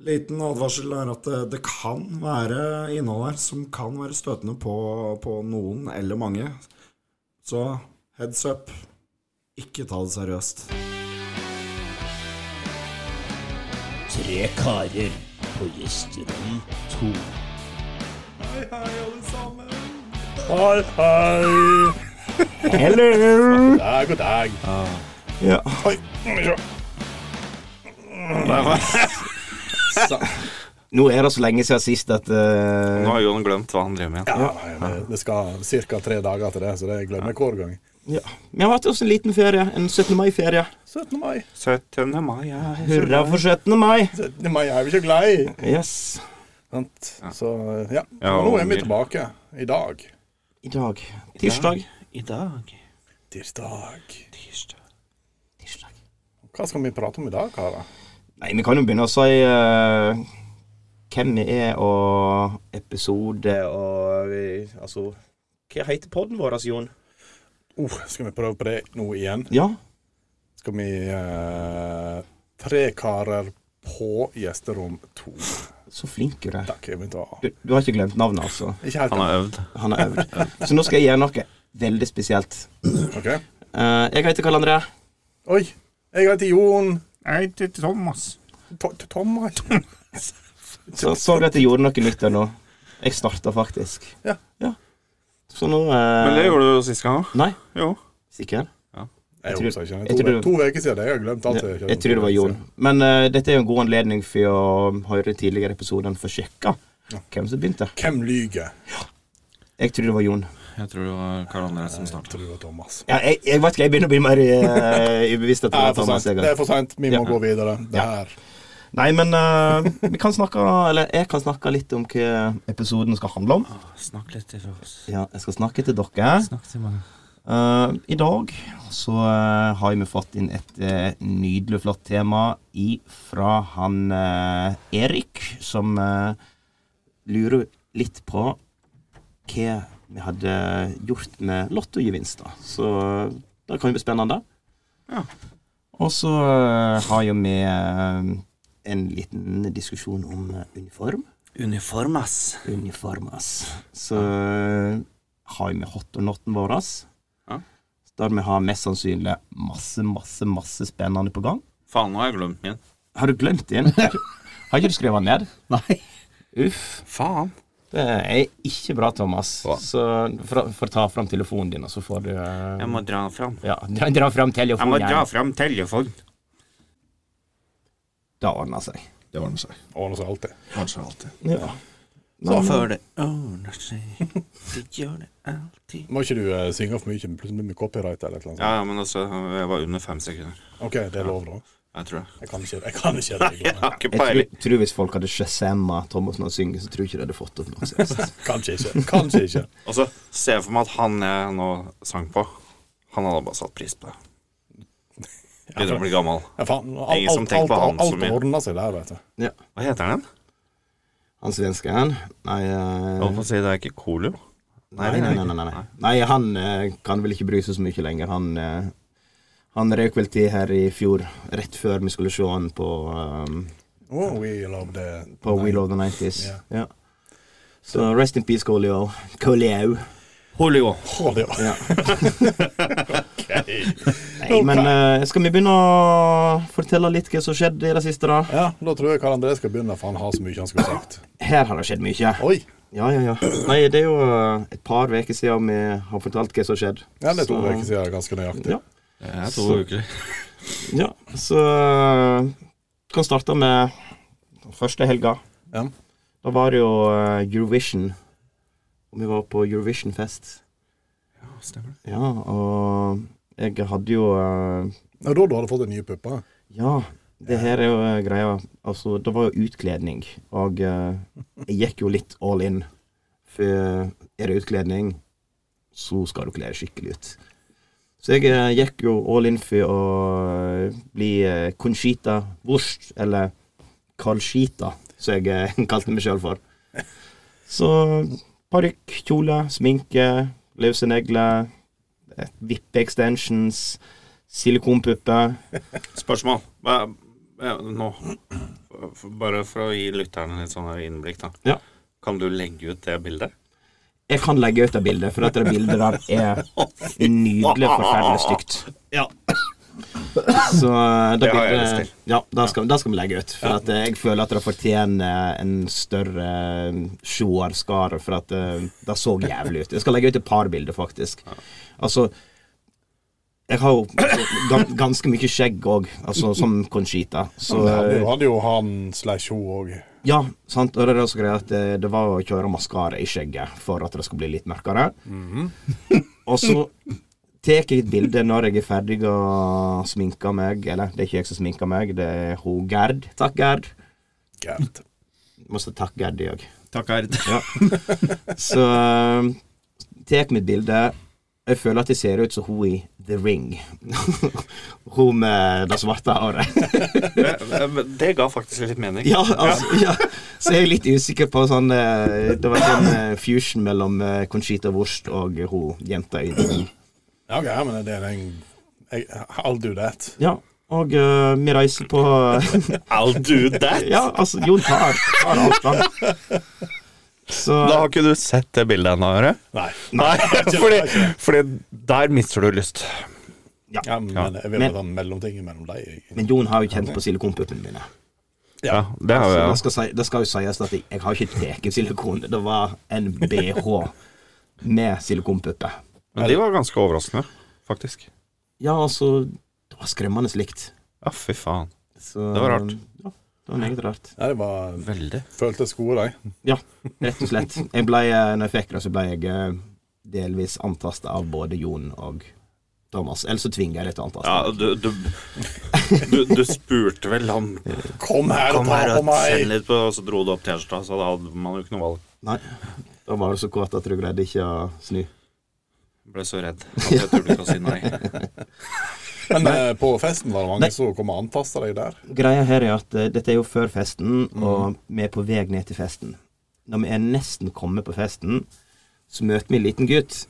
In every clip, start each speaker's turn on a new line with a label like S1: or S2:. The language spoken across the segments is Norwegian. S1: Liten advarsel er at eh, det, det kan være innhold her som kan være støtende på, på noen eller mange. Så heads up. Ikke ta det seriøst.
S2: Tre karer på gjesterom to.
S1: Hei, hei, alle sammen.
S2: Hei, hei.
S1: Hello.
S2: God dag, god dag.
S1: Ja.
S2: Oi, skal vi se. Der var jeg.
S3: Så. Nå er det så lenge siden sist at eh,
S4: Nå har Jon glemt hva han driver med.
S5: Ja, det, det skal ca. tre dager til det, så det glemmer jeg hver gang.
S3: ja. Vi har hatt oss en liten ferie. En 17. mai-ferie.
S5: 17. mai.
S4: 17. mai ja.
S3: Hurra for 17. mai.
S5: 17. mai er vi ikke glad i.
S3: Yes.
S5: Sant? Så ja.
S4: Ja,
S5: Og nå er vi
S4: unger.
S5: tilbake. I dag.
S3: I dag. Tirsdag.
S4: I dag
S5: Tirsdag.
S4: Tirsdag.
S3: Tirsdag.
S5: Hva skal vi prate om i dag, karer?
S3: Nei, vi kan jo begynne å si eh, hvem vi er, og episode og vi- Altså, hva heter podden vår, altså, Jon?
S5: Uh, skal vi prøve på det nå igjen?
S3: Ja.
S5: Skal vi eh, Tre karer på gjesterom to.
S3: Så flink du er.
S5: Takk, jeg begynte å
S3: Du, du har ikke glemt navnet, altså.
S5: Ikke helt
S4: Han har øvd.
S3: Han har øvd. Så nå skal jeg gjøre noe veldig spesielt.
S5: OK.
S3: Eh, jeg heter Karl André.
S5: Oi. Jeg heter Jon
S4: Nei, til Thomas.
S5: T T- Thomas.
S3: Så så du at jeg gjorde noe nytt der nå? Jeg starta faktisk.
S5: Ja.
S3: Så nå eh,
S4: Men det gjorde du jo sist gang òg.
S3: Nei.
S4: Jo.
S3: Sikker?
S5: Jeg
S3: tror-
S5: husker ikke.
S3: jeg
S5: To,
S3: tror du-
S5: to uker siden. Jeg har glemt alt.
S3: Jeg,
S5: kjenner
S3: jeg tror det var
S5: til.
S3: Jon. Men eh, dette er jo en god anledning for å høre tidligere episoden for å sjekke hvem som begynte.
S5: Hvem lyver?
S3: Jeg tror det var Jon.
S4: Jeg tror det var Karl André som
S5: Jeg
S4: starta.
S5: tror det var Thomas.
S3: Ja, jeg, jeg vet ikke, jeg begynner å bli mer eh, ubevisst etter
S5: Det
S3: det.
S5: er for
S3: Thomas,
S5: sent.
S3: jeg
S5: Det
S3: har.
S5: er for sent. Vi
S3: Ja.
S5: må gå videre. Det her.
S3: Nei, men eh, vi kan snakke Eller jeg kan snakke litt om hva episoden skal handle om.
S4: Snakk litt til oss.
S3: Ja, jeg skal snakke til dere.
S4: Snakk til meg.
S3: Eh, I dag så eh, har vi fått inn et eh, nydelig flott tema fra han eh, Erik, som eh, lurer litt på hva vi hadde gjort med lottogevinster. Så eh, det kan jo bli spennende.
S4: Ja.
S3: Og så eh, har jo vi eh, en liten diskusjon om eh, uniform.
S4: Uniform, ass.
S3: Uniform, ass. Så eh, har vi hot or noten vår, ass.
S4: Ja.
S3: Der vi har mest sannsynlig masse, masse, masse spennende på gang.
S4: Faen, nå har jeg glemt min.
S3: Har du glemt den? har ikke du skrevet den ned?
S4: Nei.
S3: Uff.
S4: Faen.
S3: Det er ikke bra, Thomas.
S4: Hva?
S3: Så fra- får ta fram telefonen din, og så får du eh,
S4: Jeg må dra fram.
S3: Ja, dra, dra fram
S4: Jeg må
S3: telefonen.
S4: dra
S3: igjen.
S4: fram telefonen.
S3: Det ordner seg.
S6: Det ordner seg.
S5: Ordner seg alltid.
S6: Ordner seg alltid.
S3: Ja.
S4: Så før det ordner seg. Det gjør det alltid.
S5: Må ikke du eh, synge for mye, men plutselig blir vi copyright eller et eller
S4: Ja,
S5: annet.
S4: ja, men altså, jeg var under fem sekunder.
S5: sånt. OK, det er lov, da.
S4: Jeg tror det.
S5: Jeg kan ikke, jeg kan ikke
S4: Jeg
S5: reglene.
S4: har ikke
S3: Jeg tror,
S4: peiling.
S3: tror hvis folk hadde shazamma Thomas når han synger, så tror jeg ikke de hadde fått opp noe seriøst.
S5: Kanskje ikke. Kanskje ikke.
S4: Og så ser jeg for meg at han jeg nå sang på, han hadde bare satt pris på det. Begynner å bli gammel.
S5: Ja, faen, alt,
S4: Ingen som
S5: alt,
S4: tenker
S5: alt,
S4: på
S5: alt,
S4: han så mye.
S5: ordner seg der, vet du.
S3: Ja.
S4: Hva heter den?
S3: Han svensken Nei, eh,
S4: Jeg holdt på å si det er ikke Colo.
S3: Nei, nei, nei, nei, nei. nei han eh, kan vel ikke bry seg så mye lenger. Han, eh, han røyk vel til her i fjor, rett før vi skulle se han på, eh,
S5: Oh, we love the
S3: på Wheel of the 90s.
S5: Ja.
S3: Ja. Så rest in peace, Colio. Colio.
S4: Holio.
S5: Å, det var-
S3: Ja. Nei, men eh, skal vi begynne å fortelle litt hva som skjedde i det siste, da?
S5: Ja, da tror jeg Karl André skal begynne, for han har så mye han skulle sagt.
S3: Her har det skjedd mye.
S5: Oi!
S3: Ja, ja, ja. Nei, det er jo eh, et par uker siden vi har fortalt hva som skjedde.
S5: Ja, det er to
S3: Så-
S5: uker siden, ganske nøyaktig.
S3: Ja.
S4: Det er to
S3: Så-
S4: uker.
S3: Ja, så eh, kan starte med første helga.
S5: Ja.
S3: Da var det jo eh, Eurovision. Og vi var på Eurovision-fest.
S4: Ja, stemmer det.
S3: Ja, og jeg hadde jo eh,
S5: Og da du hadde fått en ny puppe?
S3: Ja, det her er jo eh, greia. Altså, det var jo utkledning, og eh, jeg gikk jo litt all in. For eh, er det utkledning, så skal du kle deg skikkelig ut. Så jeg eh, gikk jo all in for å eh, bli eh, Conchita Wurst, eller Calchita, som jeg eh, kalte meg sjøl for. Så parykk, kjole, sminke, løse negler, eh, vippe-extensions, silikonpupper.
S4: Spørsmål. Hva- ja, Nå f- bare for å gi lytterne litt sånn her innblikk, da.
S3: Ja.
S4: Kan du legge ut det bildet?
S3: Jeg kan legge ut det bildet, for dette bildet der er nydelig forferdelig stygt.
S4: Ja.
S3: Så eh, det
S4: Det har jeg lyst
S3: bildet
S4: til.
S3: Ja, det skal, det skal vi legge ut. For at eh, jeg føler at det fortjener en større eh, seerskare, for at eh, det så jævlig ut. Jeg skal legge ut et par bilder, faktisk. Altså Jeg har jo gans- ganske mye skjegg òg, altså som Conchita. Så
S5: Men
S3: eh,
S5: Du hadde jo han slash hun òg.
S3: ja, sant. Og det er det som er greia, at eh, det var å kjøre maskara i skjegget for at det skulle bli litt mørkere. og så tar jeg et bilde når jeg er ferdig å sminke meg. Eller, det er ikke jeg som sminker meg, det er hun Gerd. Takk, Gerd.
S5: Gert.
S3: Må si takk, Gerd, jeg.
S4: Takk, Erd.
S3: Ja. Så eh, tar jeg mitt bilde. Jeg føler at jeg ser ut som hun i The Ring. hun med det svarte håret.
S4: eh, Det ga faktisk litt mening.
S3: Ja, altså, ja. Så jeg er litt usikker på sånn eh, Det var sånn eh, fusion mellom eh, Conchita Wurst og hun jenta i den.
S5: Ja, ok, men det er den jeg- I'll do that.
S3: Ja, og eh, vi reiser på
S4: I'll do that!
S3: Ja, altså, Jon tar, tar avstand. Så
S4: Da har ikke du sett det bildet ennå, Are?
S5: Nei.
S4: Nei, fordi, fordi der mister du lyst.
S5: Ja, men jeg vil
S3: Men-
S5: ha den mellomtingen mellom deg. jeg-
S3: Men Jon har jo kjent på silikonpuppene mine.
S4: Ja, det har
S3: Så
S4: jeg.
S3: det,
S4: ja.
S3: skal si, det skal jo sies at jeg, jeg har ikke tatt silikon. Det var en BH med silikonpuppe.
S4: Men de var ganske overraskende, faktisk.
S3: Ja, altså Det var skremmende likt.
S4: Ja, fy faen.
S3: Så,
S4: Det var rart.
S3: Ja, det var meget rart.
S5: Nei, det var
S4: Veldig.
S5: Føltes gode, de.
S3: Ja, rett og slett. Jeg ble, eh, når jeg fikk det, så ble jeg eh, delvis antasta av både Jon og Thomas. Eller så tvinger jeg deg til å antaste.
S4: Ja, du, du, du, du spurte vel om
S5: Kom her og
S4: Kom her
S5: ta på
S4: og send
S5: meg!
S4: litt på, og så dro du opp tirsdag, så da hadde man jo ikke noe valg.
S3: Nei. Da var du så kåt at du greide ikke å snu.
S4: Ble så redd at jeg turte ikke å si nei.
S5: Men eh, på festen var det
S3: Nei.
S5: mange som kom og antasta deg der.
S3: Greia her er at eh, dette er jo før festen, og vi er på vei ned til festen. Når vi er nesten kommet på festen, så møter vi en liten gutt.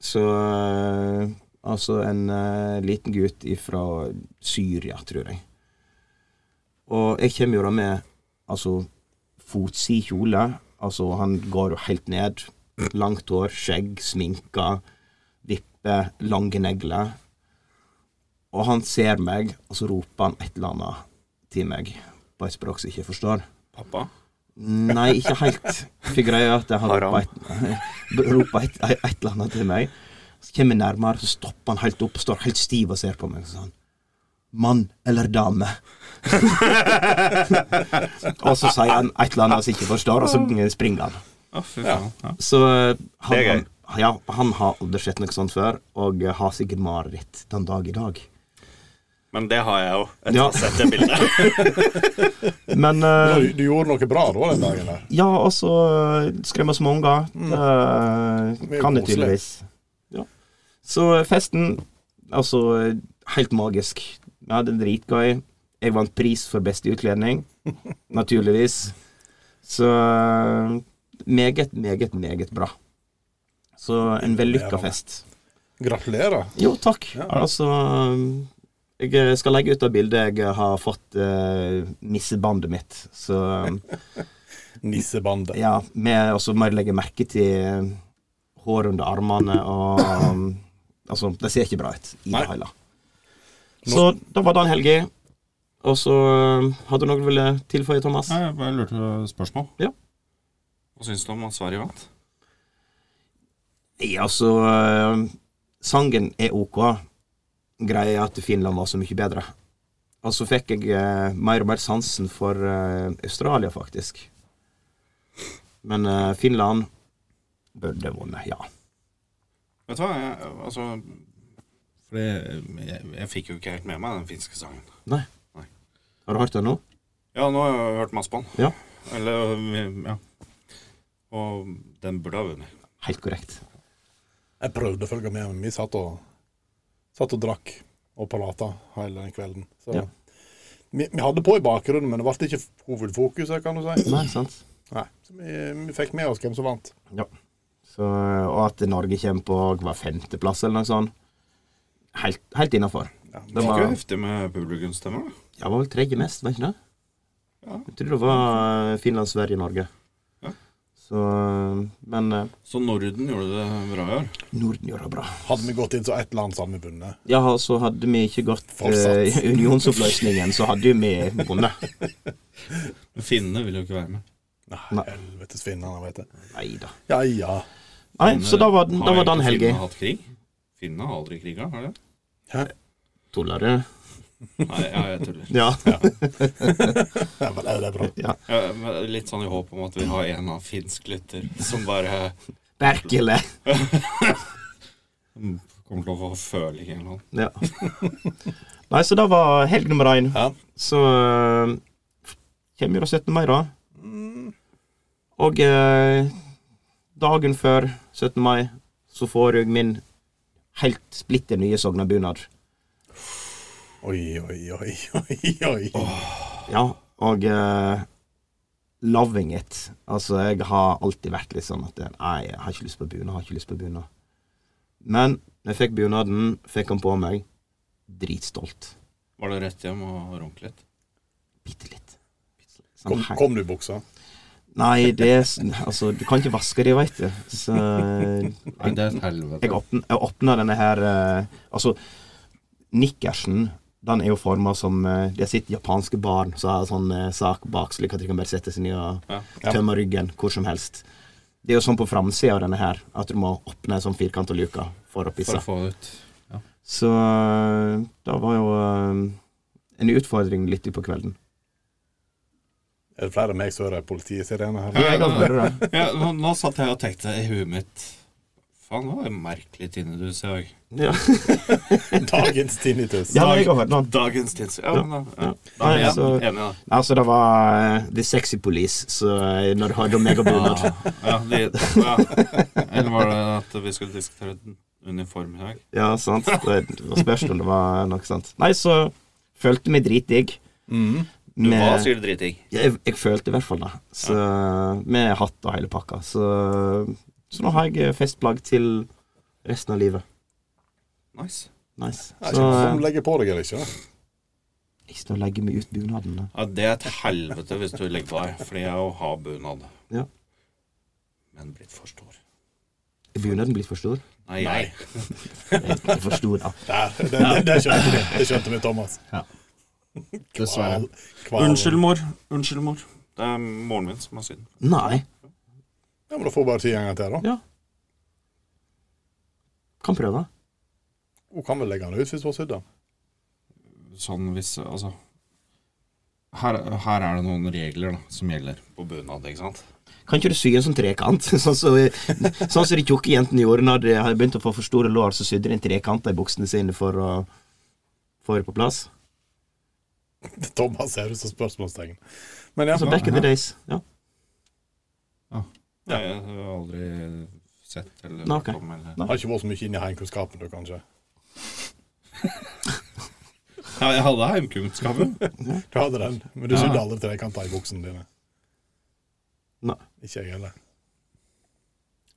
S3: Så eh, Altså en eh, liten gutt fra Syria, tror jeg. Og jeg kommer jo da med altså fotsid kjole. Altså, han går jo helt ned. Langt hår, skjegg, sminka, vipper, lange negler. Og han ser meg, og så roper han et eller annet til meg på et språk som jeg ikke forstår.
S4: Pappa?
S3: Nei, ikke helt. For greia er at han roper et, roper et, et eller annet til meg. Så kommer jeg nærmere, så stopper han helt opp, står helt stiv og ser på meg. Så sa han Mann eller dame? og så sier han et eller annet som jeg ikke forstår, og så springer han.
S4: Å, fy faen. Ja.
S3: Så eh, han,
S4: Det er
S3: han, ja, han har aldri sett noe sånt før, og eh, har sikkert mareritt den dag i dag.
S4: Men det har jeg jo, etter
S3: Ja.
S4: å ha sett det bildet.
S3: Men eh,
S5: Du, du gjorde noe bra da den dagen der.
S3: Ja, og så eh, skremmer små unger. Det eh,
S5: er
S3: kan det
S5: koselig.
S3: tydeligvis. Ja. Så eh, festen, altså helt magisk. Vi hadde det dritgøy. Jeg vant pris for beste utkledning, naturligvis. Så eh, meget, meget, meget bra. Så en vellykka fest.
S5: Gratulerer.
S3: Jo, takk. Altså eh, Jeg skal legge ut det bildet jeg har fått eh, nissebandet mitt, så eh,
S5: Nissebandet.
S3: ja, med, og så må jeg legge merke til eh, hår under armene og um, Altså, det ser ikke bra ut i det
S5: Nei.
S3: hele. Så da var det en helg. Og så um, hadde du noe du ville tilføye, Thomas?
S4: jeg bare lurte på spørsmål.
S3: Ja.
S4: Hva syns du om at Sverige vant?
S3: Nei, altså um, Sangen er ok. Greia er at Finland var så mye bedre. Og så fikk jeg eh, mer og mer sansen for eh, Australia, faktisk. Men eh, Finland burde vunnet, ja.
S4: Vet du hva, jeg, altså For jeg, jeg, jeg fikk jo ikke helt med meg den finske sangen.
S3: Nei.
S4: Nei.
S3: Har du hørt det nå?
S4: Ja, nå har jeg hørt masse på den.
S3: Ja.
S4: Eller, ja. Og den burde ha vunnet.
S3: Helt korrekt.
S5: Jeg prøvde å følge med, men vi satt og, satt og drakk og prata hele den kvelden. Så.
S3: Ja.
S5: Vi, vi hadde på i bakgrunnen, men det ble ikke hovedfokuset, kan du si.
S3: Nei, sant?
S5: Nei. Så vi, vi fikk med oss hvem som vant.
S3: Ja. Så, og at Norge kommer på hver femteplass eller noe sånt. Helt, helt innafor.
S5: Ja,
S3: det
S4: Det
S3: var,
S4: var jo heftig med publikumsstemmer, da.
S3: ja, var vel tredje mest, var ikke det? Jeg tror det var eh, Finland, Sverige, Norge.
S4: Ja.
S3: Så Men eh,
S4: Så Norden gjorde det bra i år.
S3: Norden gjør det bra.
S5: Hadde vi gått inn som ett land, så hadde vi vunnet.
S3: Ja, så hadde vi ikke gått eh,
S5: Fortsatt.
S3: unionsoppløsningen, så hadde jo vi vunnet.
S4: Men Finnene vil jo ikke være med.
S5: Nei,
S3: Nei.
S5: helvetes finnene, vet du.
S3: Neida.
S5: Ja ja.
S3: Nei, så da var, den- da
S4: Har
S3: var den
S4: ikke
S3: helga.
S4: Finnene hatt krig? Finnene har aldri kriga, har de det?
S5: Hæ?
S3: Tuller du?
S4: Nei, ja, jeg tuller.
S3: Ja.
S5: Ja, men det er bra.
S4: Ja, men litt sånn i håp om at vi har en av finsk lytter som bare
S3: Berkele.
S4: Mm, kommer til å få føling eller noe.
S3: Ja. Nei, så det var helg nummer én.
S5: Ja.
S3: Så øh, kommer jo da 17. mai, da. Og øh, dagen før 17. mai så får jeg min helt splitter nye sognabunad.
S5: Oi, oi, oi, oi, oi.
S3: Ja, og øh, loving it. Altså, jeg har alltid vært litt sånn at nei, jeg har ikke lyst på bunad, har ikke lyst på bunad. Men når jeg fikk bunaden, fikk han på meg. Dritstolt.
S4: Var det rett hjem og runke litt?
S3: Bitte litt.
S5: Kom,
S3: Sånn, hei.
S5: kom du i buksa?
S3: Nei, det er s- Altså, du kan ikke vaske de, veit du. Så
S4: Nei,
S3: jeg,
S4: det er et helvete.
S3: jeg, åpn, jeg åpna denne her eh, Altså, nikkersen den er jo forma som eh, Det sitter japanske barn som har sånn eh, sak bak, slik at de kan bare sette seg ned og
S4: Ja.
S3: tømme ryggen hvor som helst. Det er jo sånn på framsida av denne her at du må åpne en sånn firkanta luke for å
S4: For
S3: pisse.
S4: å få det ut.
S3: Så eh, det var jo eh, en utfordring litt utpå kvelden.
S5: Er det flere enn meg som hører politisirene her?
S4: Ja,
S3: Jeg kan høre det.
S4: Ja, nå, nå satt jeg og tenkte i huet mitt Faen, det var en merkelig tinnitus i dag.
S3: Ja,
S5: Dagens tinnitus.
S3: ja jeg har hørt den.
S4: Dagens tinnitus. Ja, men da, ja. da
S3: Nei,
S4: er jeg
S3: altså-
S4: enig, da.
S3: Altså, det var eh, The Sexy Police, så eh, når du hadde megabunad
S4: Ja, de, ja. Eller var det at vi skulle diskutere uniform i dag?
S3: Ja, sant. eh, Det var spørs om det var noe sant. Nei, så følte meg dritdigg.
S5: Mm.
S4: Du var
S3: Med,
S4: sikkert dritdigg.
S3: jeg, jeg følte i hvert fall det. Så, Med hatt og hele pakka. Så, så nå har jeg festplagg til resten av livet.
S4: Nice.
S3: Nice.
S5: Jeg vet
S3: Så
S5: ikke om du
S3: eh,
S5: legger på deg eller ikke.
S3: jeg skal legge meg ut bunaden. da.
S4: Ja, det er et helvete hvis du legger på deg, fordi jeg jo har bunad.
S3: Ja.
S4: Men blitt for stor.
S3: Er bunaden blitt for stor?
S4: Nei, jeg.
S3: Jeg er for stor, da.
S5: Der, det, det, det skjønte vi, det skjønte vi, Thomas. Kval, kval.
S4: Unnskyld, mor. Unnskyld, mor. Det er moren min som har synd.
S3: Nei.
S5: Ja, men Da får du bare si en gang til, da.
S3: Ja. Kan prøve.
S5: Hun kan vel legge den ut hvis hun har sydd den.
S4: Sånn hvis Altså. Her, her er det noen regler da, som gjelder på bunad, ikke sant?
S3: Kan ikke du sy en sånn trekant? Sånn som sånn som de tjukke jentene gjorde når de hadde begynt å få for store lår, så sydde de en trekant i buksene sine for å få det på plass.
S5: Thomas ser ut som spørsmålstegn. Men ja,
S3: Så back in the days. Ja,
S4: Ja. Jeg har aldri sett eller
S3: Nei, ok.
S4: hørt om eller
S3: Nei.
S5: har ikke vært så mye inne i heimkunnskapen, du, kanskje.
S4: Ja, jeg hadde heimkunnskapen.
S5: Du hadde den, men du sydde aldri trekanter i buksene dine.
S3: Nei.
S5: Ikke jeg heller.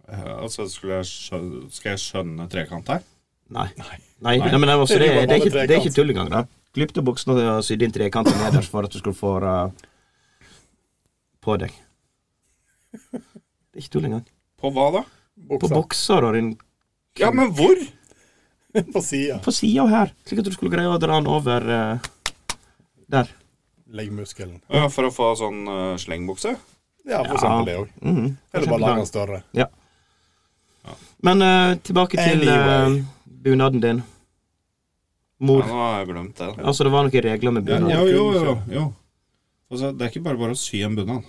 S4: Eh, Altså, skulle jeg skjønne, skal jeg skjønne trekant her?
S3: Nei.
S5: Nei.
S3: Nei, nei, men altså, det, det, er ikke, det er ikke
S5: Trekant.
S3: tull engang. da. Klippte buksene og sydde inn trekanter nederst for at du skulle få det på deg. Det er ikke tull engang.
S4: På hva da?
S3: På
S5: Buksa
S3: bokser og din
S4: Ja, men hvor?
S5: på sida.
S3: på sida her, slik at du skulle greie å dra den over eh, der.
S5: Legg muskelen.
S4: Ja, for å få sånn eh, slengbukse?
S5: Ja, for eksempel det òg.
S3: Mhm.
S5: Eller bare lag den større.
S3: Men eh, tilbake til
S5: Anyway.
S3: eh, bunaden din.
S4: Ja,
S3: Mor.
S4: nå har jeg glemt det.
S3: Altså, det var noen regler med bunad.
S4: jo, jo, jo. jo. Altså, det er ikke bare bare å sy en bunad.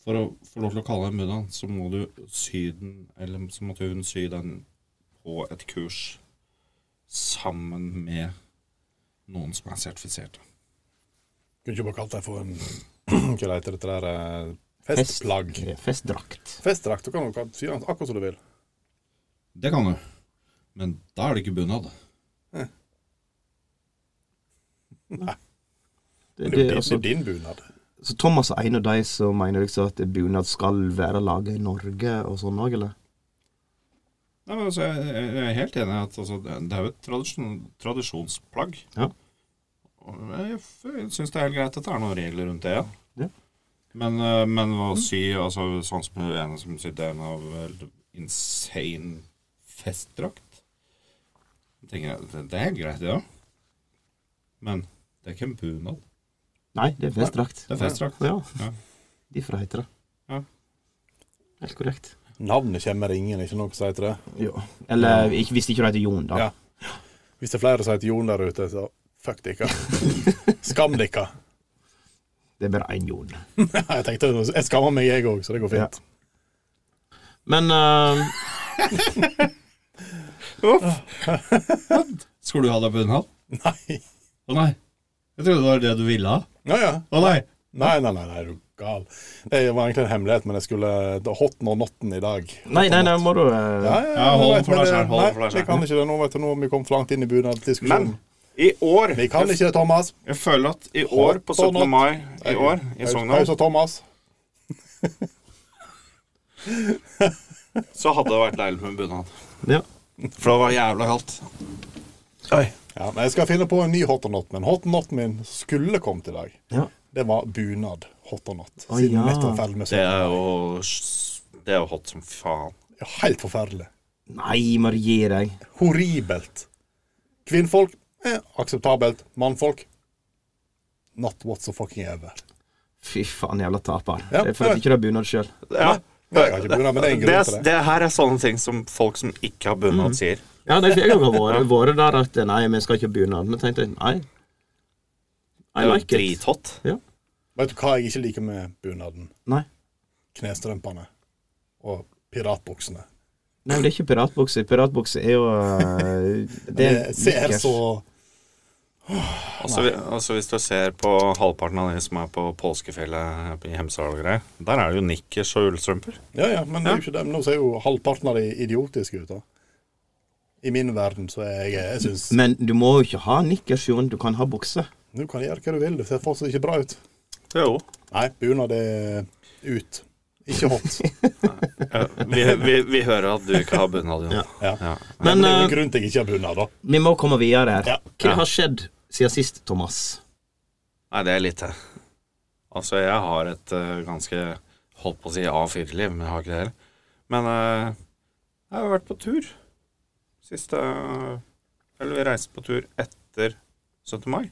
S4: For å få lov til å kalle det en bunad, så må du sy den Eller så måtte hun sy den på et kurs sammen med noen som er sertifisert.
S5: Kunne ikke bare kalt det for en Hva heter dette der eh, Festplagg.
S3: Fest- Festdrakt.
S5: Festdrakt. Du kan jo sy den akkurat som du vil.
S4: Det kan du. Men da er det ikke bunad.
S3: Det,
S5: Men Det er
S3: det,
S5: jo din, det
S3: altså,
S5: er din bunad.
S3: så Thomas er en av de som mener liksom at bunad skal være laga i Norge og sånn òg, eller?
S4: Nei, men altså, jeg, jeg er helt enig i at altså, det det er jo et tradisjon, tradisjonsplagg.
S3: Ja.
S4: Og Jeg syns det er helt greit at det er noen regler rundt det.
S3: Ja.
S4: Men, eh, men hva å si altså, Sånn som hun ene som sitter en av eh, insane festdrakt Jeg tenker jeg, det, det er helt greit, det ja. Men det er ikke en bunad.
S3: Nei, det er festdrakt.
S4: Det er festdrakt.
S3: Ja.
S4: Ja.
S3: Derfor heter det.
S4: Ja.
S3: Helt korrekt.
S5: Navnet kommer med ringen, ikke noe som heter det.
S3: Ja. Eller ikke- hvis ikke du heter Jon, da.
S5: Ja. Hvis det er flere som heter Jon der ute, så fuck dere. Skam dere.
S3: Det er bare én Jon.
S5: Jeg tenkte, jeg skammer meg, jeg òg, så det går fint.
S3: Men eh,
S4: Skulle du ha deg bunad?
S5: Nei.
S4: Å nei. Jeg trodde det var det du ville ha.
S5: Ja, ja.
S4: Å nei.
S5: Nei, nei, nei, nei, er du gal. Det var egentlig en hemmelighet, men jeg skulle det er Hot nå notten i dag.
S3: Nei, nei, nei, må du eh,
S4: Ja, hold
S5: men
S4: for deg
S5: det-
S4: selv, hold
S5: nei,
S4: for deg
S5: Vi
S4: selv.
S5: kan ikke det nå, vet du. Nå har vi kommet for langt inn i bunadsdiskusjonen.
S4: Men i år
S5: Vi kan ikke det, Thomas.
S4: Jeg føler at i år, på 17. mai i år i Sogndal,
S5: Pause, Thomas.
S4: så hadde det vært deilig med bunad.
S3: ja.
S4: For det var jævla kaldt.
S5: Ja, men jeg skal finne på en ny hot or not, men hot or not min skulle kommet i dag.
S3: ja.
S5: Det var bunad hot or not.
S3: Å,
S5: Siden
S3: ja.
S5: vi nettopp var ferdig med
S4: Det
S5: sånn.
S4: er jo s- Det er jo hot som faen.
S5: Ja, Helt forferdelig.
S3: Nei, må du gi deg.
S5: Horribelt. Kvinnfolk eh, akseptabelt. Mannfolk not what so fucking ever.
S3: Fy faen, jævla taper.
S5: Ja,
S3: det er for at
S5: ja.
S3: ikke du har bunad sjøl.
S4: Ja.
S5: Nei, jeg har ikke bunad, men det er en grunn til det. Mm.
S4: her er sånne ting som folk som ikke har bunad, sier.
S3: Ja, nei, for jeg har vært, vært der at eh, nei, vi skal ikke ha bunad. Men tenkte jeg nei.
S4: Det
S3: I
S4: er jo
S3: like it.
S4: drithot.
S3: Ja.
S5: Vet du hva jeg ikke liker med bunaden?
S3: Nei.
S5: Knestrømpene og piratbuksene.
S3: nei, men det er ikke piratbukse. Piratbukse er jo eh,
S5: Det
S3: er-
S5: ser så
S4: Altså, vi- altså Hvis du ser på halvparten av de som er på påskefjellet i Hemsedal og greier, der er det jo nikkers og ullstrømper.
S5: Ja, ja, men det er jo ikke det. Men Nå ser jo halvparten av de idiotiske ut. da. I min verden så er jeg Jeg syns
S3: Men du må jo ikke ha nikkers, Jon. Du kan ha bukse.
S5: Du kan gjøre hva du vil, det ser fortsatt ikke bra ut.
S4: Jo.
S5: Nei, bunad er ut. Ikke hot.
S4: Ja, vi, vi, vi hører at du ikke har bunad, Jon.
S5: Ja.
S4: Ja.
S5: Men,
S3: Men
S5: det er jo
S3: eh,
S5: en grunn til jeg ikke har bunad, da.
S3: vi må komme videre her.
S5: Ja.
S3: Hva har skjedd siden sist, Thomas?
S4: Nei, det er litt det. Altså, jeg har et eh, ganske Holdt på å si A4-liv, men jeg har ikke det heller. Men eh, jeg har vært på tur. Siste eh, Eller vi reiste på tur etter 17. mai.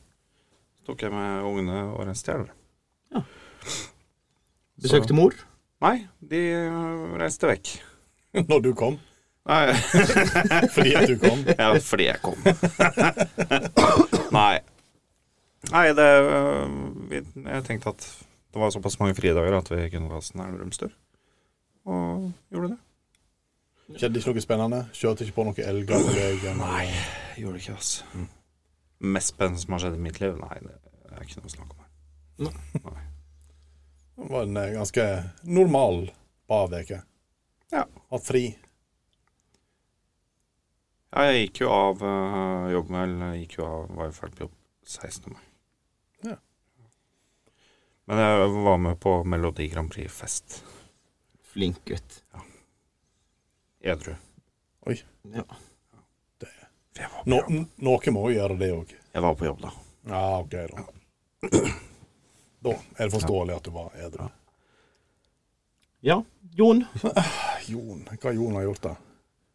S4: Så tok jeg med ungene og reiste til Elverum.
S3: Besøkte mor?
S4: Nei, de eh, reiste vekk.
S5: Når du kom.
S4: Nei,
S5: Fordi at du kom.
S4: ja, fordi jeg kom. Nei. Nei, det eh, vi, Jeg tenkte at det var såpass mange fridager at vi kunne ta oss en Elverumstur. Og gjorde det.
S5: Skjedde ikke noe spennende? Kjørte ikke på noe elger på veien?
S4: Nei, jeg gjorde det ikke, ass. Mest spennende som har skjedd i mitt liv? Nei, det er ikke noe å snakke om her.
S5: Det var en eh, ganske normal barveke.
S4: Ja.
S5: Hatt fri.
S4: Ja, jeg gikk jo av øh, jobb med Jeg gikk jo av, var jo ferdig på jobb 16. mai.
S5: Ja.
S4: Men jeg var med på Melodi Grand Prix-fest.
S3: Flink gutt.
S4: Edru.
S3: Ja.
S4: For Jeg var,
S5: Nå, n- noe må jo gjøre det òg.
S4: jeg var på jobb, da.
S5: Ja, OK, da. Da er det forståelig at du var edru.
S3: ja. Jon,
S5: Jon, hva Jon har gjort, da?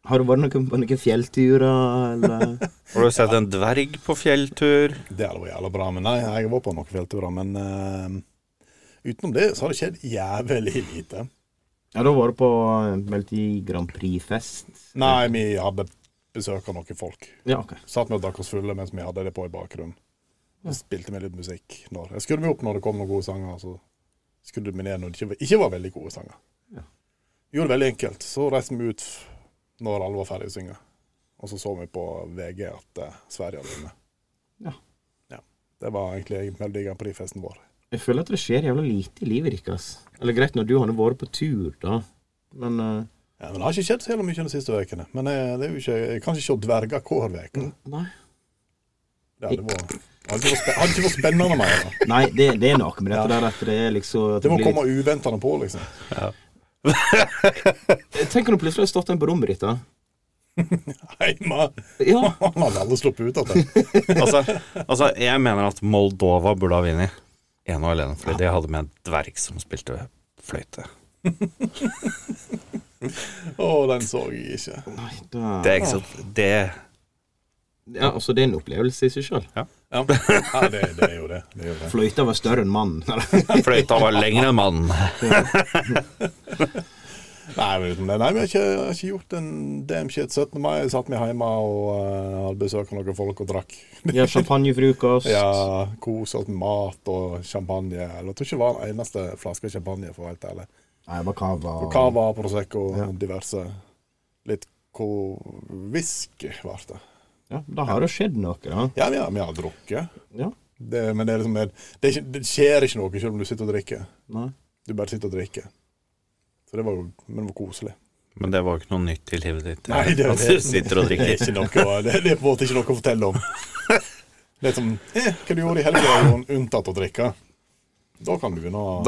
S3: har du vært noen, på noen fjellturer, eller?
S4: Har du sett en dverg på fjelltur?
S5: Det hadde vært jævla bra. Men nei, jeg var på noen fjellturer. Men eh, utenom det så har det skjedd jævlig lite.
S3: Ja, da var du på Melodi Grand Prix-fest.
S5: Nei, vi hadde besøk av noen folk.
S3: Ja, ok.
S5: Satt vi og drakk oss fulle mens vi hadde det på i bakgrunnen. Og spilte vi litt musikk. Når. Jeg skrudde meg opp når det kom noen gode sanger, og så skrudde vi ned når det ikke var, ikke var veldig gode sanger.
S3: Ja.
S5: Gjorde det veldig enkelt. Så reiste vi ut f- når alle var ferdige å synge. Og så så vi på VG at eh, Sverige hadde vunnet.
S3: Ja.
S5: Ja. Det var egentlig Melodi Grand Prix-festen vår.
S3: Jeg føler at det skjer jævla lite i livet deres. Eller greit, når du har nå vært på tur, da. Men eh,
S5: Ja, men det har ikke skjedd så jævla mye de siste ukene. Men eh, det er jo ikke, jeg kan ikke se dverger hver uke.
S3: nei.
S5: Det hadde vært hadde ikke vært spe- hadde ikke vært spennende mer. da.
S3: Nei, det, det er noe med dette der at det er liksom at
S5: Det må
S3: blir litt-
S5: komme uventende på, liksom.
S3: Tenk om du plutselig har stått en på rommet ditt, da.
S5: Heima!
S3: Ja.
S5: Han hadde aldri sluppet ut av det.
S4: Altså, altså, jeg mener at Moldova burde ha vunnet ene og alene, fordi de hadde med en dverg som spilte fløyte.
S5: Å, den så jeg ikke.
S3: Nei, da
S4: Det er ikke så Det
S3: Ja, altså, det er en opplevelse i seg sjøl.
S5: Ja, ja det, det er jo det. det, er jo det.
S3: Fløyta var større enn mannen.
S4: Fløyta var lengre enn mannen.
S5: Nei, men utenom det. Nei, vi har ikke, har ikke gjort en damn shit 17. mai. Satt vi hjemme og eh, hadde besøk av noen folk og drakk.
S3: ja, champagnefrokost.
S5: Ja, kos oss med mat og champagne. Eller, Jeg tror ikke det var en eneste flaske champagne, for å være helt ærlig.
S3: Nei, det var cava.
S5: Og cava, prosecco og diverse. Litt ko- whisky ble det.
S3: Ja, da har det skjedd noe, da.
S5: Ja, vi har, vi har drukket.
S3: Ja.
S5: Det, men det, er liksom, det, det, er ikke, det skjer ikke noe selv om du sitter og drikker.
S3: Nei.
S5: Du bare sitter og drikker. Så det var jo Men det var koselig.
S4: Men det var jo ikke noe nytt i livet ditt.
S5: Nei, det er
S4: at
S5: det.
S4: du sitter og
S5: Det er,
S4: drikker.
S5: ikke noe, å- det, det er på en måte ikke noe å fortelle om. Det er som eh, Hva du gjorde i helga, Jon, unntatt å drikke? Da kan du begynne å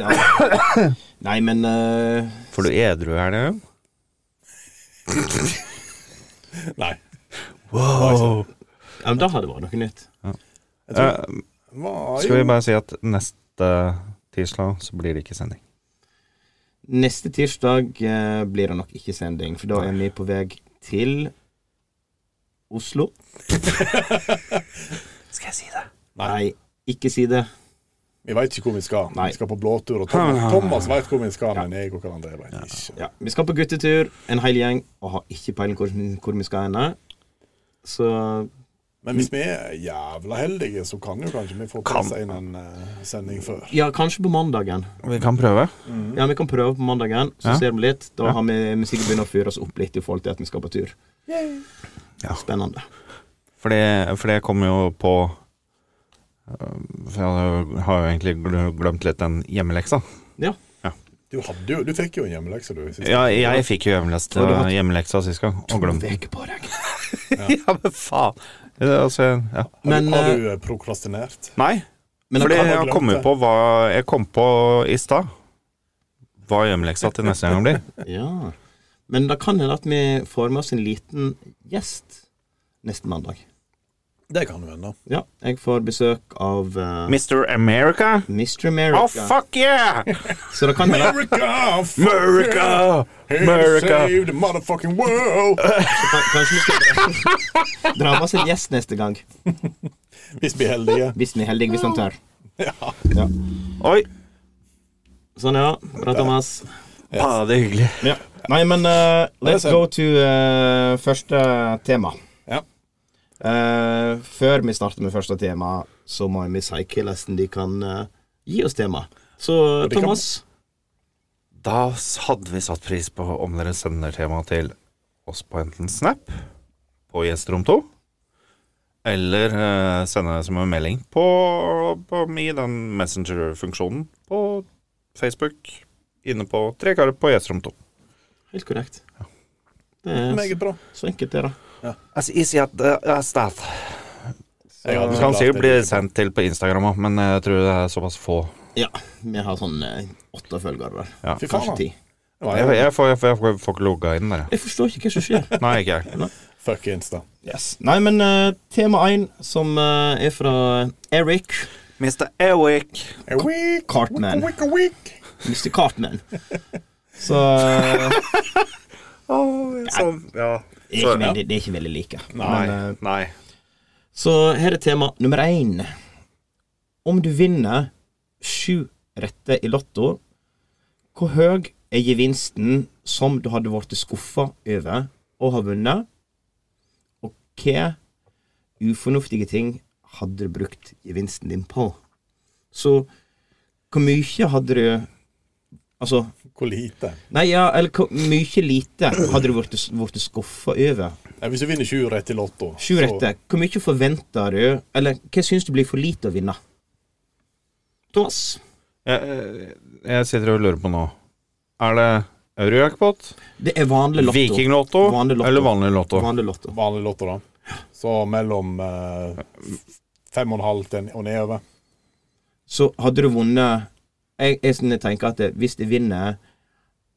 S3: Ja. Nei, men eh,
S4: For du edru er det jo.
S5: Nei.
S4: Wow.
S3: ja, men Da hadde det vært noe nytt.
S5: Jeg tror, var,
S4: skal vi
S5: jo,
S4: bare si at neste tirsdag så blir det ikke sending.
S3: Neste tirsdag eh, blir det nok ikke sending, for da er vi på vei til Oslo.
S4: Skal jeg si det?
S3: Nei, ikke si det.
S5: vi veit ikke hvor vi skal.
S3: Nei.
S5: Vi skal på blåtur, og Thomas, Thomas veit hvor vi skal, men jeg og Karl André veit ikke.
S3: Ja, vi skal på guttetur, en hel gjeng, og har ikke peiling hvor, hvor vi skal ende. Så
S5: Men hvis vi er jævla heldige, så kan jo kanskje vi få pressa inn en eh, sending før.
S3: Ja, kanskje på mandagen.
S4: Vi kan prøve.
S3: Ja, vi kan prøve på mandagen, så
S4: Ja.
S3: ser vi litt. Da har vi, vi sikkert begynt å fyre oss opp litt i forhold til at vi skal på tur.
S4: Ja.
S3: Spennende.
S4: For det, for det kom jo på øh, For jeg har jo- har jo egentlig gl- glemt litt den hjemmeleksa.
S3: Ja.
S5: Du, hadde jo, du fikk jo en hjemmelekse, du. sist.
S4: Ja, jeg fikk jo hjemmelest,
S3: Har du hatt-
S4: hjemmeleksa sist gang, og glemte den.
S3: Veke på deg.
S4: Ja, men faen! Ja, altså, ja.
S5: Har,
S3: Men,
S5: du, har
S3: eh,
S5: du eh, prokrastinert?
S4: Nei,
S3: men
S4: for det
S5: kan ha
S4: jeg
S5: glemt
S4: kom jo
S5: det.
S4: på hva jeg kom på i stad. Hva hjemmeleksa til neste gang blir.
S3: Ja. Men det kan hende at vi får med oss en liten gjest neste mandag.
S5: Det kan du ennå.
S3: Ja, jeg får besøk av eh,
S4: Mr. America? Oh,
S3: Mr. America.
S4: fuck yeah!
S3: Så det kan hende,
S5: America!
S4: America! America!
S5: Save the motherfucking world!
S3: kan, kanskje vi skal dra- dra med oss en gjest neste gang.
S5: Hvis vi er heldige.
S3: Hvis vi er heldige, hvis han tør.
S4: Oi,
S3: Sånn, ja. Bra, Thomas.
S4: ja, det er hyggelig.
S3: Ja. Nei, men eh, let's go to eh, første tema.
S5: Ja.
S3: Eh, før vi starter med første tema, så må vi si hvordan de kan eh, gi oss tema. Så
S5: de kan-
S3: Thomas
S4: Da hadde vi satt pris på om dere sender temaet til oss på enten Snap på Gjesterom 2, eller eh, sende det som en melding på, på i den Messenger-funksjonen på Facebook inne på Tre karer på Gjesterom 2.
S3: Helt korrekt. Det er
S5: Meget bra.
S3: så enkelt, det, da.
S4: Altså, easy at uh, stat.
S5: Jeg hadde
S4: Det kan
S5: klart
S4: sikkert
S5: det.
S4: bli sendt til på Instagram òg, men eh, jeg tror det er såpass få.
S3: Ja. Vi har sånn eh, åtte følgere der.
S4: Ja.
S5: Fy faen,
S3: Kanskje
S5: da.
S3: ti.
S5: Nei,
S4: Jeg, jeg, får, jeg, får, jeg får ikke logga inn der. jeg.
S3: Jeg forstår ikke hva som skjer.
S4: Nei, ikke jeg.
S5: Fuck Insta.
S3: Yes. Nei, men eh, tema én, som eh, er fra Eric
S4: Mr. Eric.
S5: A week,
S3: Cartman.
S5: a week, a week.
S3: Mr. Cartman. Så eh,
S4: sånn, ja.
S3: det, er ikke veldig, det er ikke veldig like.
S4: Nei.
S3: Men, eh,
S4: nei.
S3: Så her er tema nummer én. Om du vinner sju retter i Lotto, hvor høy er gevinsten som du hadde blitt skuffa over å ha vunnet? Og hva ufornuftige ting hadde du brukt gevinsten din på? Så hvor mye hadde du Altså
S5: Hvor lite.
S3: Nei, ja, eller hvor mye lite hadde du blitt- blitt skuffa over
S5: Nei, hvis du vinner sju rett i Lotto
S3: Sju
S5: så-
S3: rette. Hvor mye forventer du, eller hva syns du blir for lite å vinne? Thomas?
S4: Jeg, jeg sitter og lurer på nå. Er det eurojackpot,
S3: Det er vanlig lotto.
S4: vikinglotto
S3: Vanlig lotto.
S4: eller vanlig lotto?
S3: Vanlig lotto.
S5: Vanlig Lotto, da. Så mellom eh, fem og en halv til en- og nedover.
S3: Så hadde du vunnet Jeg, jeg, synes jeg tenker at det, hvis jeg vinner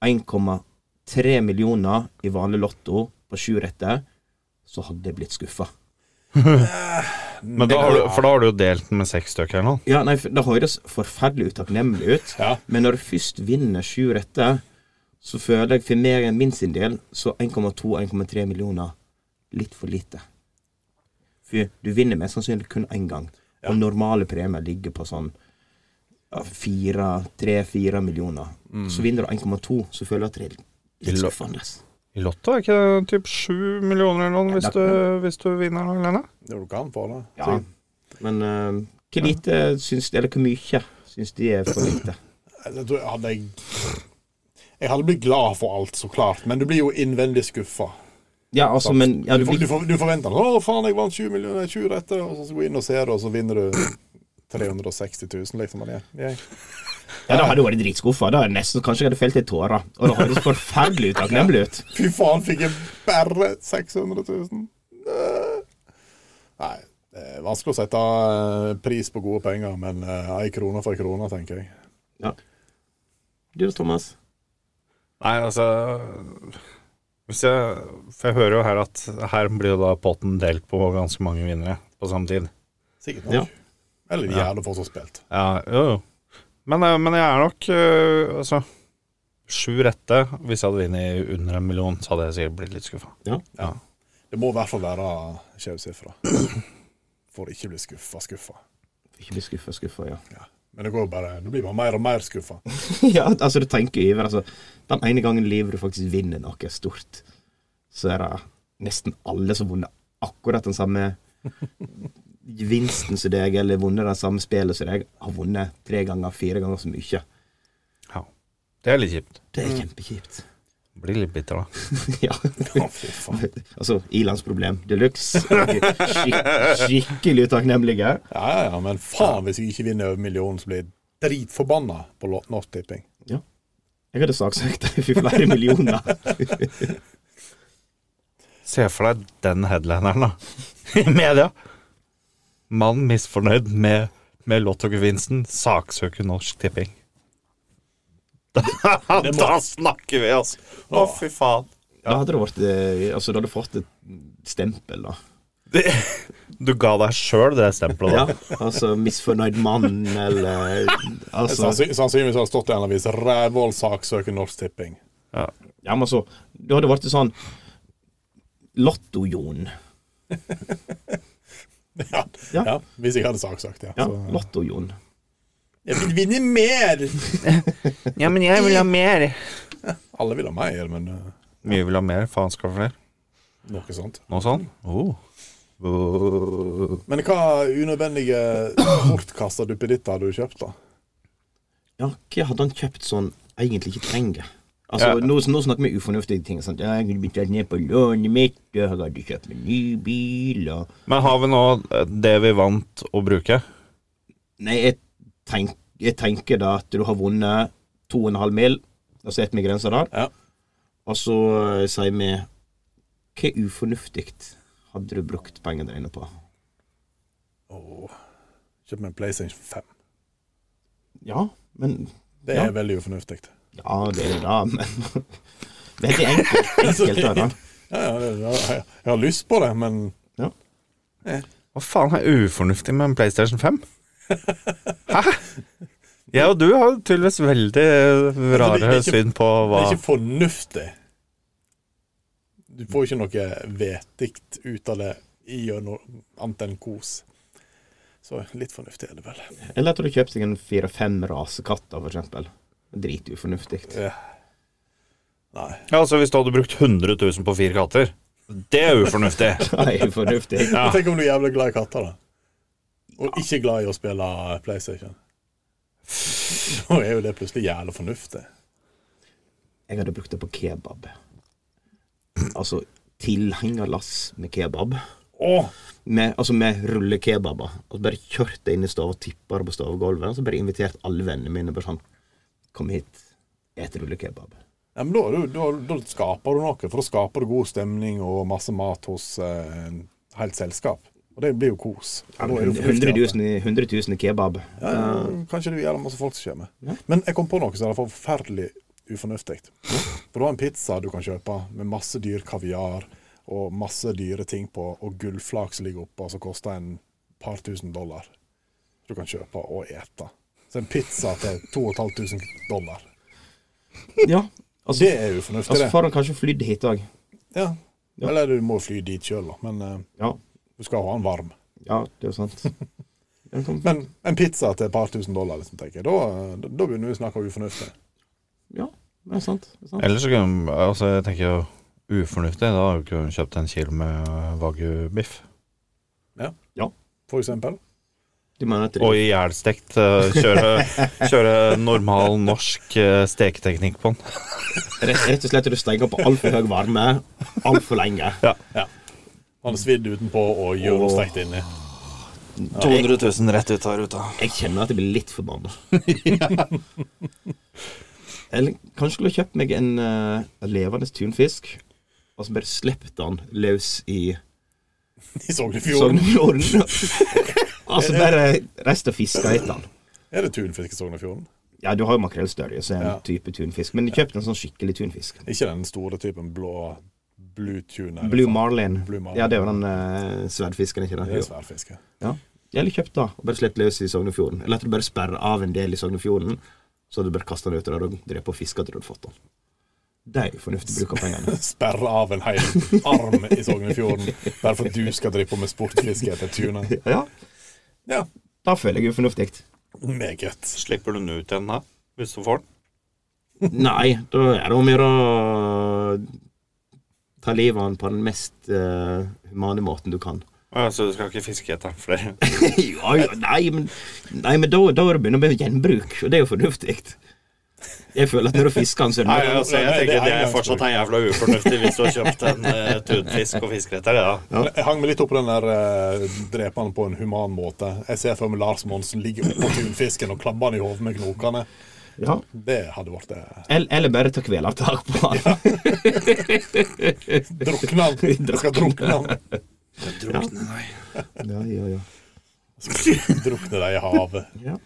S3: 1,2 tre millioner i vanlig lotto på sju retter, så hadde jeg blitt skuffa.
S4: Men da har du, for da har du jo delt den med seks stykker eller noe.
S3: Ja, nei, for det høres forferdelig utakknemlig ut,
S5: Ja.
S3: men når du først vinner sju retter, så føler jeg for meg enn min sin del, så 1,2-1,3 millioner litt for lite. For du vinner mest sannsynlig kun én gang, og normale premier ligger på sånn ja, fire, tre-fire millioner. Så vinner du 1,2, så føler jeg at Mm. det er litt
S4: Lo-
S3: skuffende.
S4: I Lotto er ikke det typ sju millioner eller noe hvis du, hvis du vinner noe alene?
S5: Det du kan for det.
S3: Ja. Men eh, hvor lite syns Eller hvor mye syns de er for lite?
S5: Altså, Jeg tror jeg hadde jeg Jeg hadde blitt glad for alt, så klart, men du blir jo innvendig skuffa.
S3: Ja, altså, men ja, du
S5: Du, for, du,
S3: blir,
S5: for, du forventer 'Å, faen, jeg vant 20 millioner, 20 retter', og så går du inn og ser det, og så vinner du 360 000, liksom. og det- jeg-
S3: ja, da hadde du vært dritskuffa. Da hadde jeg nesten kanskje jeg hadde felt ei tåre. Og det høres forferdelig utakknemlig ut.
S5: Fy faen, fikk jeg bare 600 000? Nei. Nei. Det er vanskelig å sette eh, pris på gode penger, men eh, ei krone for ei krone, tenker jeg.
S3: Ja. Du Thomas?
S4: Nei, altså hvis jeg, For jeg hører jo her at her blir jo da potten delt på ganske mange vinnere på samme tid.
S5: Sikkert
S3: Ja.
S5: nok. Eller de gjerne får som spilt.
S4: Ja, jo, jo. Men, eh, men jeg er nok eh, Altså, sju rette. Hvis jeg hadde vunnet under en million, så hadde jeg sikkert blitt litt skuffa.
S5: Det må i hvert fall være skjev sifre. For ikke bli skuffa, skuffa.
S3: Ikke bli skuffa, skuffa, ja.
S5: Men det går jo bare Du blir bare mer og mer skuffa.
S3: ja, altså du tenker jo Iver, altså. Den ene gangen i livet du faktisk vinner noe stort, så er det nesten alle som har vunnet akkurat den samme vinsten som deg, eller vunnet det samme spillet som deg, har vunnet tre ganger, fire ganger så mye.
S4: Ja. Det er litt kjipt.
S3: Det er kjempekjipt.
S4: Blir litt bitter, da.
S3: ja.
S5: Å, fy faen.
S3: Altså, ilandsproblem de luxe. Skik skikkelig utakknemlige.
S5: Ja, ja, ja, men faen hvis jeg ikke vinner over millionen, så blir jeg dritforbanna på Lo- Norsk Tipping.
S3: Jeg hadde saksøkt deg for flere millioner.
S4: Se for deg den headlineren, da. I media. Mann misfornøyd med, med lottogevinsten. Saksøker Norsk Tipping. Da, da snakker vi, altså! Å, fy faen.
S3: Da hadde det vært eh, Altså, du hadde fått et stempel, da.
S4: Det, du ga deg sjøl det stempelet, da.
S3: Ja, altså misfornøyd mann, eller Altså
S5: Sannsyn- Sannsynligvis har det stått i en avis 'Rævhål saksøker Norsk Tipping'.
S3: Ja, men altså Du hadde vært sånn Lotto-Jon.
S5: Ja,
S3: Ja.
S5: ja, hvis jeg hadde saksøkt, ja.
S3: Ja,
S5: Så,
S3: Lotto-Jon.
S5: jeg vil vinne mer!
S4: Ja, men jeg vil ha mer.
S5: Alle vil ha mer, men eh,
S4: Mye vil ha mer. Faen skal ha flere.
S5: noe sånt.
S4: Noe sånn? Oh. Oh.
S5: Men hva unødvendige bortkasta duppeditter hadde du kjøpt, da?
S3: Ja, hva hadde han kjøpt sånn egentlig ikke trenger? Altså, nå, nå snakker vi ufornuftige ting. Sant? Ja, jeg kunne betalt ned på lånet mitt, og jeg hadde kjøpt meg ny bil, og
S4: Men har vi nå eh, det vi vant å bruke?
S3: Nei, jeg, tenk, jeg tenker da at du har vunnet 2,5 mil, og så setter vi grensa der.
S5: Ja.
S3: Og så eh, sier vi Hva ufornuftig hadde du brukt pengene dine på?
S5: Åh, Kjøpt meg en PlayStation 5.
S3: Ja, men
S5: Det er veldig ufornuftig.
S3: Ja, det er det, da, men Veldig enkelt. enkelt da, da.
S5: Ja, ja, det- ja, ja, jeg har lyst på det, men
S4: Hva faen er ufornuftig med en PlayStation 5? Hæ? Jeg og du har jo tydeligvis veldig
S5: Altså, det
S4: rare
S5: er ikke-
S4: syn på
S5: det
S4: hva
S5: er ikke fornuftig. Du får ikke noe vetig ut av det gjennom annet enn kos. Så litt fornuftig er det vel.
S3: Eller at du kjøpte deg en fire-fem rasekatter, for eksempel. Drit ufornuftig.
S5: Ja. Nei.
S4: Ja, altså Hvis du hadde brukt 100 000 på fire katter, det er ufornuftig.
S3: Nei, ufornuftig.
S4: Ja.
S5: Tenk om du er jævlig glad i katter, da. Og ikke glad i å spille PlayStation. Nå er jo det plutselig jævlig fornuftig.
S3: Jeg hadde brukt det på kebab. Altså tilhengerlass med kebab.
S5: Åh,
S3: Med, altså med rullekebaber. Og bare kjørt det inn i stua og tippa det på stuegulvet. Og så bare invitert alle vennene mine bare sånn Kom hit, et rullekebab.
S5: Ja, men da, er du- da, da skaper du noe, for da skaper du god stemning og masse mat hos eh, en helt selskap. Og det blir jo kos. Og da er det jo
S3: 100
S5: fornuftig at-
S3: 000, i- 100 000 i kebab.
S5: Ja, ja, kanskje det er jævla masse folk som kommer.
S3: Ja.
S5: Men jeg kom på noe som er forferdelig ufornuftig. For du har en pizza du kan kjøpe med masse dyr kaviar og masse dyre ting på, og gullflak som ligger oppå, som koster en par tusen dollar. Du kan kjøpe og ete. Så en pizza til 2500 dollar.
S3: Ja. Altså,
S5: Det er jo fornuftig,
S3: altså
S5: det.
S3: får han kanskje flydd hit òg.
S5: Ja. Eller du må fly dit sjøl, da. Men eh,
S3: Ja.
S5: du skal ha den varm.
S3: ja, det er jo sant. Den kan-
S5: Men en pizza til et par tusen dollar, liksom, tenker jeg. Da, da- da begynner vi å snakke om ufornuftig.
S3: Ja, det er sant. Det er sant.
S4: Ellers så kunne Altså, jeg tenker jo ufornuftig. Da hadde du kunnet kjøpt en kilo med eh, wagyu-biff.
S5: For eksempel.
S3: Du mener at det
S4: Og ihjelstekt. eh, Kjøre, kjøre normal norsk eh, steketeknikk på den.
S3: rett, rett og slett at du stenger på altfor høy varme altfor lenge.
S5: Han er svidd utenpå og eurostekt inni.
S3: 200
S7: 000 rett ut her ute.
S3: Jeg kjenner at jeg blir litt forbanna. Eller kanskje skulle jeg kjøpt meg en eh, levende tunfisk, og så bare sluppet den løs i
S5: I Sognefjorden.
S3: Sognefjorden. og så bare reist og fiska etter den.
S5: Er det tunfisk i Sognefjorden?
S3: Ja, du har jo makrellstørje, så er det
S5: Ja.
S3: en type tunfisk. Men kjøp en sånn skikkelig tunfisk.
S5: Ikke den store typen blå blue tuna. eller
S3: Blue
S5: sånn.
S3: marlin.
S5: Blue marlin.
S3: Ja, det er jo den eh, sverdfisken, ikke
S5: Det er
S3: det? Jo.
S5: sverdfiske.
S3: Ja. Eller kjøpt da, og bare sluppet løs i Sognefjorden. Eller at du bare sperrer av en del i Sognefjorden, så du bare kaster den ut der og dreper og fisker til du hadde fått den. Det er jo fornuftig bruk av pengene.
S5: Sperre av en hel arm i Sognefjorden bare for at du skal drive på med sportfiske etter tuna.
S3: Ja,
S5: Ja,
S3: da føler jeg jo fornuftig.
S5: meget.
S4: Slipper du den ut igjen da, hvis du får den?
S3: Nei, da er det om å gjøre å ta livet av den på den mest eh, humane måten du kan.
S4: Ja, så du skal ikke fiske etter den flere?
S3: ja, ja, nei, men, nei, men da, da er det begynner med gjenbruk, og det er jo fornuftig. Jeg føler at når du fisker den, så er det
S4: Nei,
S3: mer-
S4: altså, jeg tenker det er fortsatt er jævla ufornuftig hvis du har kjøpt en eh, tunfisk og fisker etter det, da.
S5: Men Jeg hang meg litt opp på den der eh, drepende på en human måte. Jeg ser for meg Lars Monsen ligge oppå tunfisken og klabbe han i hodet med knokene.
S3: ja.
S5: Det hadde vært eh, det.
S3: Eller, eller bare ta kvelertak på den.
S5: Drukne han! Jeg skal drukne han!
S3: Ja, ja, ja.
S5: Drukne deg i havet.
S3: Ja.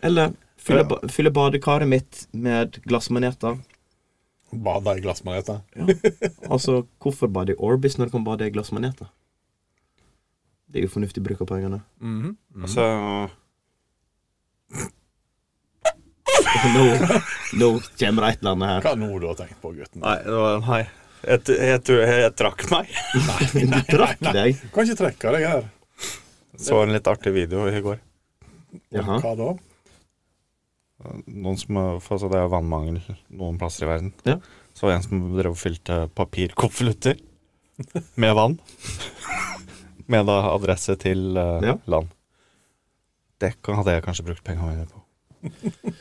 S3: Eller fylle, ba- fylle badekaret mitt med glassmaneter.
S5: Bade i glassmaneter.
S3: Altså, hvorfor bade i Orbis når du kan bade i glassmaneter? Det er jo fornuftig bruk av pengene.
S4: Så
S3: Nå, nå kommer det et eller annet her.
S5: Hva nå du har tenkt på, gutten?
S4: Nei, det var Nei. Jeg, jeg, tror jeg, trakk meg.
S3: Du trakk deg.
S5: Du kan ikke trekke deg her.
S4: Så en litt artig video i går.
S3: Jaha.
S5: Hva da?
S4: Noen som har- for altså, Det er vannmangel noen plasser i verden.
S3: Ja.
S4: Så var det en som drev og fylte papirkonvolutter med vann. Med da adresse til eh,
S3: Ja.
S4: land. Det kan- hadde jeg kanskje brukt pengene mine på.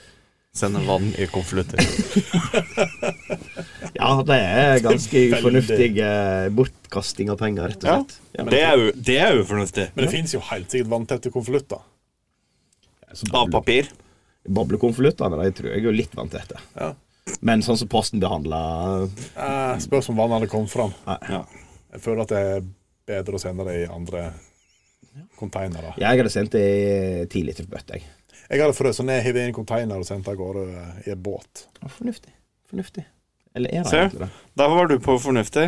S4: Sende vann i konvolutter.
S3: Ja, det er ganske fornuftig eh, bortkasting av penger, rett og slett. Ja,
S4: Det er, u- det er ufornuftig.
S5: Men det fins jo helt sikkert vanntette konvolutter.
S4: Av papir.
S3: Boblekonvoluttene de tror jeg er jo litt vant til dette.
S5: Ja.
S3: Men sånn som Posten behandler eh,
S5: Eh, Spørs om vannet hadde kommet fram.
S3: Nei.
S5: Jeg føler at det er bedre å sende det i andre konteinere.
S3: Jeg hadde sendt det i ti liters bøtte, jeg.
S5: Jeg hadde frøst ned, hevet inn i en container og sendt det av gårde eh, i en båt.
S3: Ja, Fornuftig. Fornuftig. Eller er det
S4: Se.
S3: egentlig det?
S4: Der var du på fornuftig.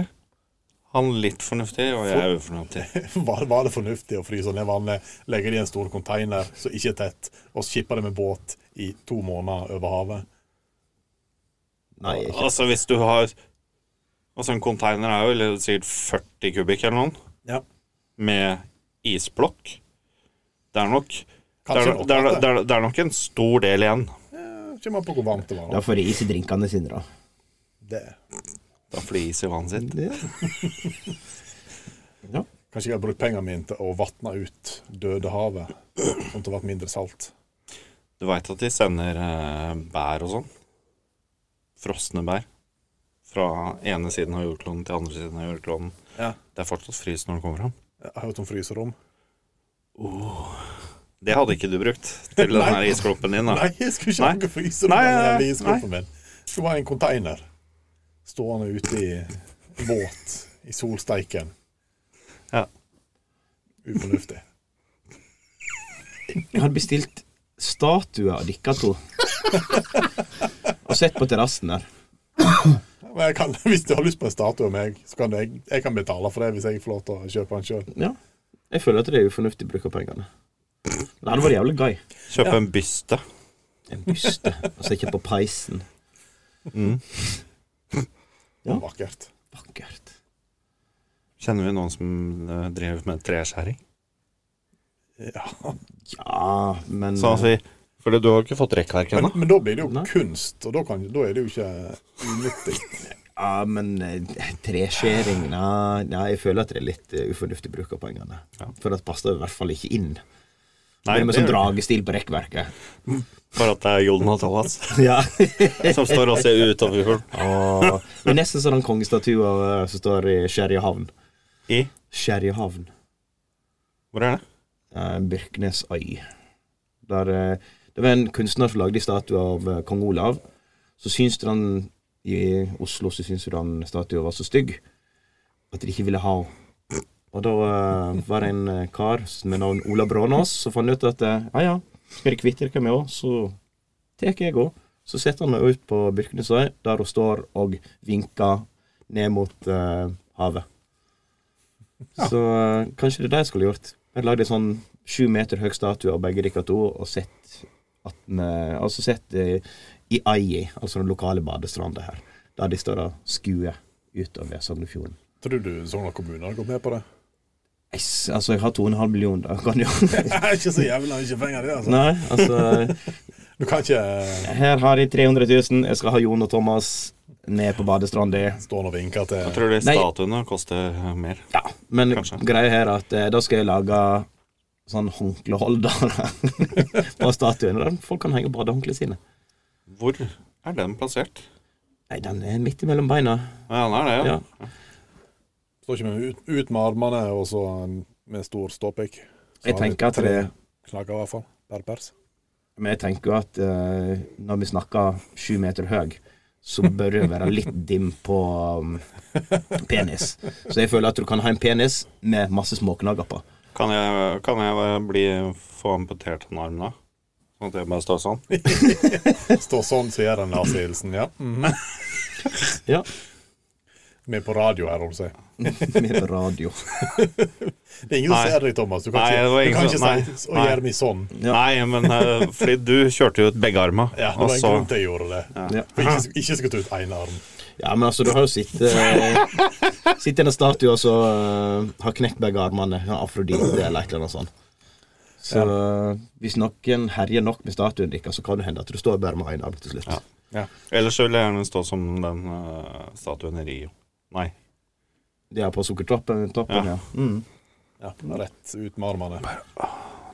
S4: Han litt fornuftig, og jeg er ufornuftig.
S5: Var, var det fornuftig å fryse ned vannet, legge det i en stor container som ikke er tett, og skippe det med båt i to måneder over havet?
S3: Nei, ikke.
S4: Altså, hvis du har Altså, en container er jo eller sikkert 40 kubikk eller noe,
S5: Ja.
S4: med isblokk. Det er nok det er,
S5: Kanskje
S4: det, er,
S5: nok
S4: det, er, det er nok en stor del igjen.
S5: Kommer an på hvor varmt det var.
S3: Da får de is i drinkene sine, da.
S5: Det.
S4: Da får de is i vannet sitt.
S5: Kanskje jeg har brukt pengene mine til å vatne ut Dødehavet, sånn at det ble mindre salt.
S4: Du veit at de sender eh, bær og sånn? Frosne bær. Fra ene siden av jordkloden til andre siden av jordkloden.
S5: Ja.
S4: Det er fortsatt frys når det kommer fram.
S5: Jeg har hørt om fryserom.
S4: Det hadde ikke du brukt til den her isklumpen din. da
S5: Nei, jeg skulle ikke
S4: Nei.
S5: lage fryserom.
S4: Nei,
S5: eller
S4: nei,
S5: iskroppen min. Det skulle være en container stående ute i båt i solsteiken.
S4: Ja.
S5: Ufornuftig.
S3: Jeg hadde bestilt statuer av dere to. Og sett på terrassen der.
S5: Men jeg kan, hvis du har lyst på en statue av meg, så kan jeg, jeg kan betale for det hvis jeg får lov til å kjøpe den sjøl.
S3: Ja. Jeg føler at det er ufornuftig bruk av pengene. Nei, det var jævlig gøy.
S4: Kjøpe en byste.
S3: En byste, og så ikke på peisen. Ja.
S5: Vakkert.
S3: Vakkert.
S4: Kjenner vi noen som eh, driver med treskjæring?
S5: Ja.
S3: Ja, men
S4: Sånn at vi Fordi du har ikke fått rekkverk
S5: Men,
S4: ennå?
S5: men da blir det jo
S3: Nei.
S5: kunst, og da, kan, da er det jo ikke unyttig.
S3: Ja, men eh, treskjæring Nei, nei, jeg føler at det er litt eh, ufornuftig bruk av pengene. For det passer i hvert fall ikke inn.
S4: Nei,
S3: det er med
S4: det
S3: sånn
S4: gjør
S3: dragestil på rekkverket.
S4: Bare at det er Jon og Thomas
S3: Ja.
S4: som står og ser utover
S3: Åh, det er nesten sånn den kongestatuen eh, som står i Sherryhavn.
S4: i
S3: Sherryhavn.
S4: Hvor er det?
S3: eh, Byrknesøy. Der, eh, det var en kunstner som lagde en statue av eh, kong Olav. Så syns de han i Oslo så syns de han statuen var så stygg at de ikke ville ha henne. Og da eh, var det en eh, kar med navn Ola Brånås som fant ut at eh, ja ja, skal de kvitte dere med henne, så tar jeg henne. Så setter han henne ut på Byrknesøy, der hun står og vinker ned mot eh, havet. Så eh, kanskje det er det jeg skulle gjort. Jeg lagde en sånn sju meter høy statue av begge dere to, og sett at den, eh, Altså sett eh, i Aji, altså den lokale badestranda her, der de står og skuer utover Sognefjorden.
S5: Tror du Sogndal kommune har gått med på det?
S3: Jeg s- Altså, jeg har 2,5 millioner, da kan jo
S5: ikke så jævla mye penger, det, altså.
S3: Nei, altså
S5: Du kan ikke eh,
S3: Her har jeg 300 000, jeg skal ha Jon og Thomas ned på badestranda.
S5: stå og vinke eh,
S4: Jeg
S5: til
S4: tror de
S3: Nei.
S4: statuene koster eh, mer.
S3: Ja, men
S4: Kanskje.
S3: greia her er at eh, da skal jeg lage sånn håndkleholdere på statuen. Der folk kan henge badehåndklærne sine.
S4: Hvor er den plassert?
S3: Nei, den er midt imellom beina.
S4: Ja, den er det, ja.
S3: Ja.
S5: Står ikke med ut, ut med armene og så en- med stor ståpikk. Så
S3: Jeg
S5: har vi
S3: tenker at
S5: tre
S3: det-
S5: Knagger, i hvert fall. Per pers.
S3: Men jeg tenker jo at eh, når vi snakker sju meter høy, så bør det være litt dim på um, penis. Så jeg føler at du kan ha en penis med masse småknagger på.
S4: Kan jeg, kan jeg eh, bli, få amputert en arm da? Sånn at jeg bare står sånn?
S5: Står sånn, så gjør en nazihilsen, ja.
S4: Mm.
S3: Ja.
S5: Vi er på radio her, holdt jeg på å
S3: Med på radio.
S5: si. Det er ingen som
S4: Nei.
S5: ser deg, Thomas. Du kan
S4: Nei,
S5: ikke,
S4: det var
S5: du
S4: ingen
S5: kan
S4: som-
S5: ikke
S4: nei,
S5: si 'å
S4: nei.
S5: gjør meg sånn'.
S3: Ja.
S4: Nei, men eh, fordi du kjørte jo ut begge arma.
S5: Ja, det
S4: og
S5: var en
S4: så-
S5: grunn til jeg gjorde det.
S3: Ja.
S5: For ikke, ikke skulle ta ut én arm.
S3: ja, men altså, du har jo sittet uh, Sittet i en statue og så eh, har knekt begge armene. sånn Afrodite eller et eller annet sånt. Så eh, hvis noen herjer nok med statuen deres, så kan det hende at du står bare med én arm til slutt.
S4: Ja. Ellers så vil jeg gjerne stå som den eh, statuen i Rio. Nei.
S3: De er på sukkertoppen. Toppen,
S4: Ja.
S3: ja. Mm.
S5: Ja, rett ut med armene.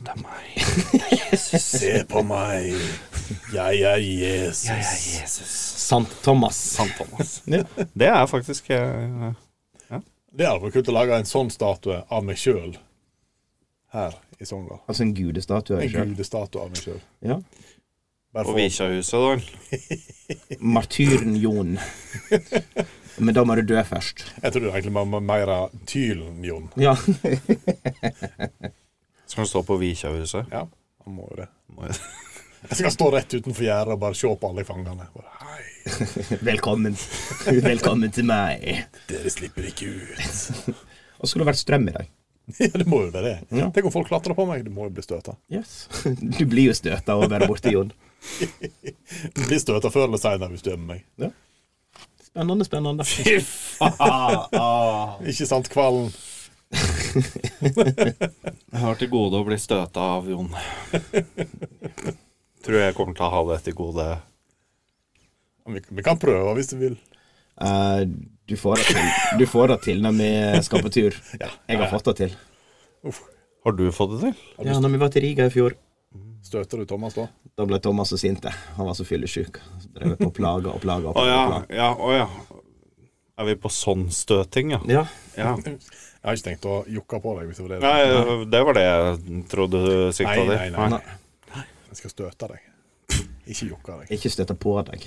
S4: Det er meg.
S5: Se på meg, jeg er Jesus.
S4: Jesus.
S3: Sant Thomas.
S4: Sant Thomas.
S3: Ja.
S4: Det er faktisk eh,
S5: Det hadde vært kult å lage en sånn statue av meg sjøl her i Sogndal.
S3: Altså en gudestatue.
S5: En
S3: ikke sant?
S5: gudestatue av meg sjøl.
S3: Ja.
S5: Bare
S4: På
S5: for
S4: Vikjahuset, da.
S3: Martyren Jon. Men da må du dø først.
S5: Jeg trodde egentlig man var mer av Tylen, Jon.
S3: Ja.
S4: Skal du stå på Vikjahuset?
S5: Ja, han må jo det.
S4: Må jeg-
S5: Jeg skal stå rett utenfor gjerdet og bare se på alle fangene. Bare, Hei,
S3: Velkommen. Velkommen til meg.
S5: dere slipper ikke ut.
S3: Og skulle det vært strøm i dag.
S5: Ja, det må jo være det.
S3: Ja.
S5: Tenk om folk klatrer på meg. Du må jo bli støta.
S3: Yes. Du blir jo støta av å være borte, Jon.
S5: Du blir støta før eller seinere hvis du er med meg.
S3: Spennende, spennende.
S5: Ikke sant, Kvalen?
S4: Jeg har til gode å bli støta av Jon. Tror jeg kommer til å ha det til gode.
S5: Vi, vi kan prøve hvis du vil.
S3: Eh, du, får det til. du får det til når vi skal på tur. Jeg har fått det til.
S4: Har du fått det til?
S3: Ja, når vi var til Riga i fjor,
S5: Støter du Thomas da?
S3: da ble Thomas så sint. jeg. Han var så fyllesyk. Så Drev jeg på plager og plager. Og
S4: Å ja,
S3: plager.
S4: ja, å ja. Er vi på sånn støting, ja?
S3: Ja.
S4: Ja,
S5: Jeg har ikke tenkt å jokke på deg hvis det var det.
S4: Nei, det var det jeg trodde du sikta
S5: Nei,
S4: til.
S5: nei, nei.
S3: Nei,
S5: Jeg skal støte deg. Ikke jokke deg.
S3: ikke støtte på deg.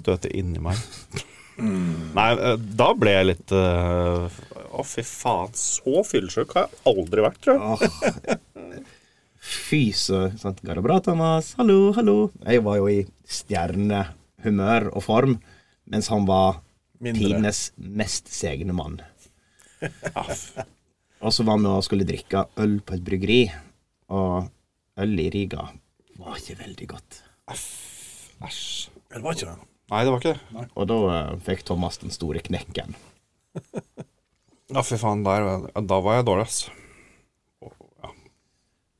S4: Støte inni meg. Nei, eh, da ble jeg litt eh, Å, fy faen. Så fyllesyk har jeg aldri vært, tror jeg.
S3: Åh. Fy så sant. Går det bra, Thomas? Hallo, hallo. Jeg var jo i stjernehumør og form mens han var
S5: Mindre.
S3: tidenes mest segne mann. og så var vi og skulle drikke øl på et bryggeri, og øl i Riga var ikke veldig godt.
S4: Æsj.
S5: Det var ikke det.
S4: Nei, det var ikke det.
S3: Og da eh, fikk Thomas den store knekken.
S4: Ja, fy faen. Der, var jeg- da var jeg dårlig, ass.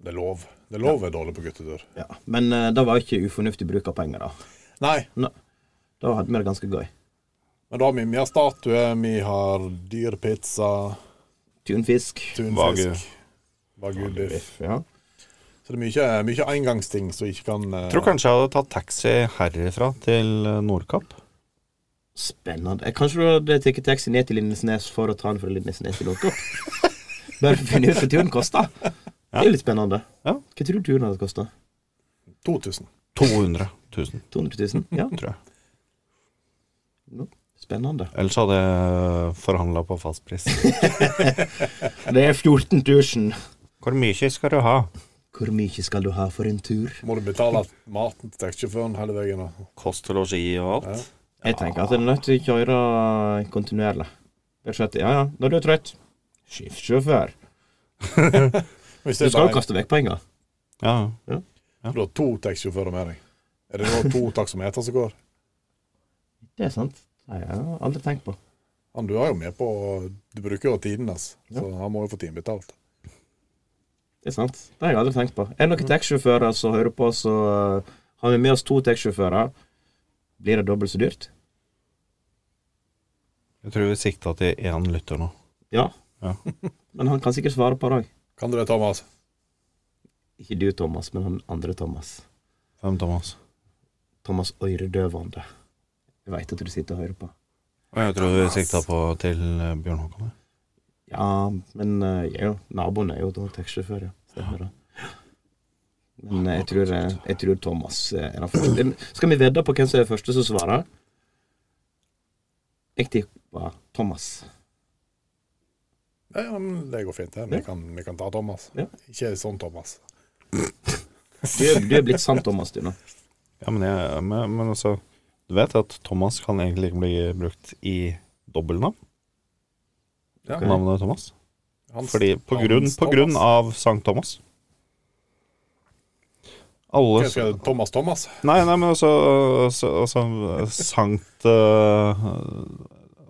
S5: Det er lov. Det er lov å være dårlig på guttetur.
S3: Ja. Men eh, det var ikke ufornuftig bruk av penger, da.
S5: Nei,
S3: Da hadde vi det ganske gøy.
S5: men da har vi mye statue, vi har dyr pizza,
S3: Tunfisk.
S4: Wagyu.
S5: tunfisk, wagyu-biff.
S3: Ja.
S5: Så det er mye, mye engangsting som ikke kan eh,
S4: Tror kanskje jeg hadde tatt taxi herifra til eh, Nordkapp.
S3: Spennende. Eh, Kanskje du hadde tatt taxi ned til Lindesnes for å ta den fra Lindesnes til Låtkopp? Bare for å finne ut hva turen kosta. Det er jo litt spennende.
S4: Ja.
S3: Hva tror du turen hadde kosta?
S5: 2000.
S4: 200 000,
S3: 200 000? Ja,
S4: tror jeg.
S3: spennende.
S4: Ellers hadde jeg forhandla på fastpris.
S3: Det er 14 000.
S4: Hvor mye skal du ha?
S3: Hvor mye skal du ha for en tur?
S5: Må du betale maten til taxisjåføren hele veien? og-
S4: Kost og losji og alt?
S3: Jeg tenker at en er nødt til å kjøre kontinuerlig. Rett og slett. Ja, ja, når du er trøtt. Skift sjåfør.
S5: Hvis
S3: Du
S5: det
S3: skal
S5: er
S3: jo
S5: bare
S3: kaste vekk penger.
S4: Ja.
S5: en, du har to taxisjåfører med deg. Er det nå to taksometer som går?
S3: Det er sant. Nei, jeg har aldri tenkt på.
S5: Han du er jo med på Du bruker jo tiden hans, så han må jo få tiden betalt.
S3: Det er sant. Det har jeg aldri tenkt på. Er det noen taxisjåfører som hører på, så uh, har vi med oss to taxisjåfører. Blir det dobbelt så dyrt?
S4: Jeg tror vi sikta til én lytter nå.
S3: Ja.
S4: Ja.
S3: men han kan sikkert svare på det òg.
S5: Kan du det, Thomas?
S3: Ikke du, Thomas, men han andre Thomas.
S4: Hvem, Thomas?
S3: Thomas Øyredøvande. Jeg veit at du sitter og hører på.
S4: Og Jeg tror vi sikta på til eh, Bjørn Håkon. ja.
S3: Ja, men uh, jeg er jo, naboen er jo da taxisjåfør, ja. Stemmer det. Men uh, jeg tror, uh, jeg tror Thomas uh, er den første. Skal vi vedde på hvem som er den første som svarer? Jeg tipper Thomas.
S5: Nei, ja, men det går fint. her. Vi kan, vi kan ta Thomas.
S3: Ja.
S5: Ikke sånn Thomas.
S3: Du er, du er blitt sant Thomas, du nå.
S4: Ja, men, jeg, men, men altså Du vet at Thomas kan egentlig ikke bli brukt i dobbeltnavn?
S5: Ja.
S4: Navnet Thomas?
S5: Hans-
S4: Fordi på grunn,
S5: Hans
S4: på grunn
S5: Thomas.
S4: av Sankt Thomas alle,
S5: Hva skal jeg- Thomas Thomas?
S4: Nei, nei, men altså, altså, altså Sankt eh,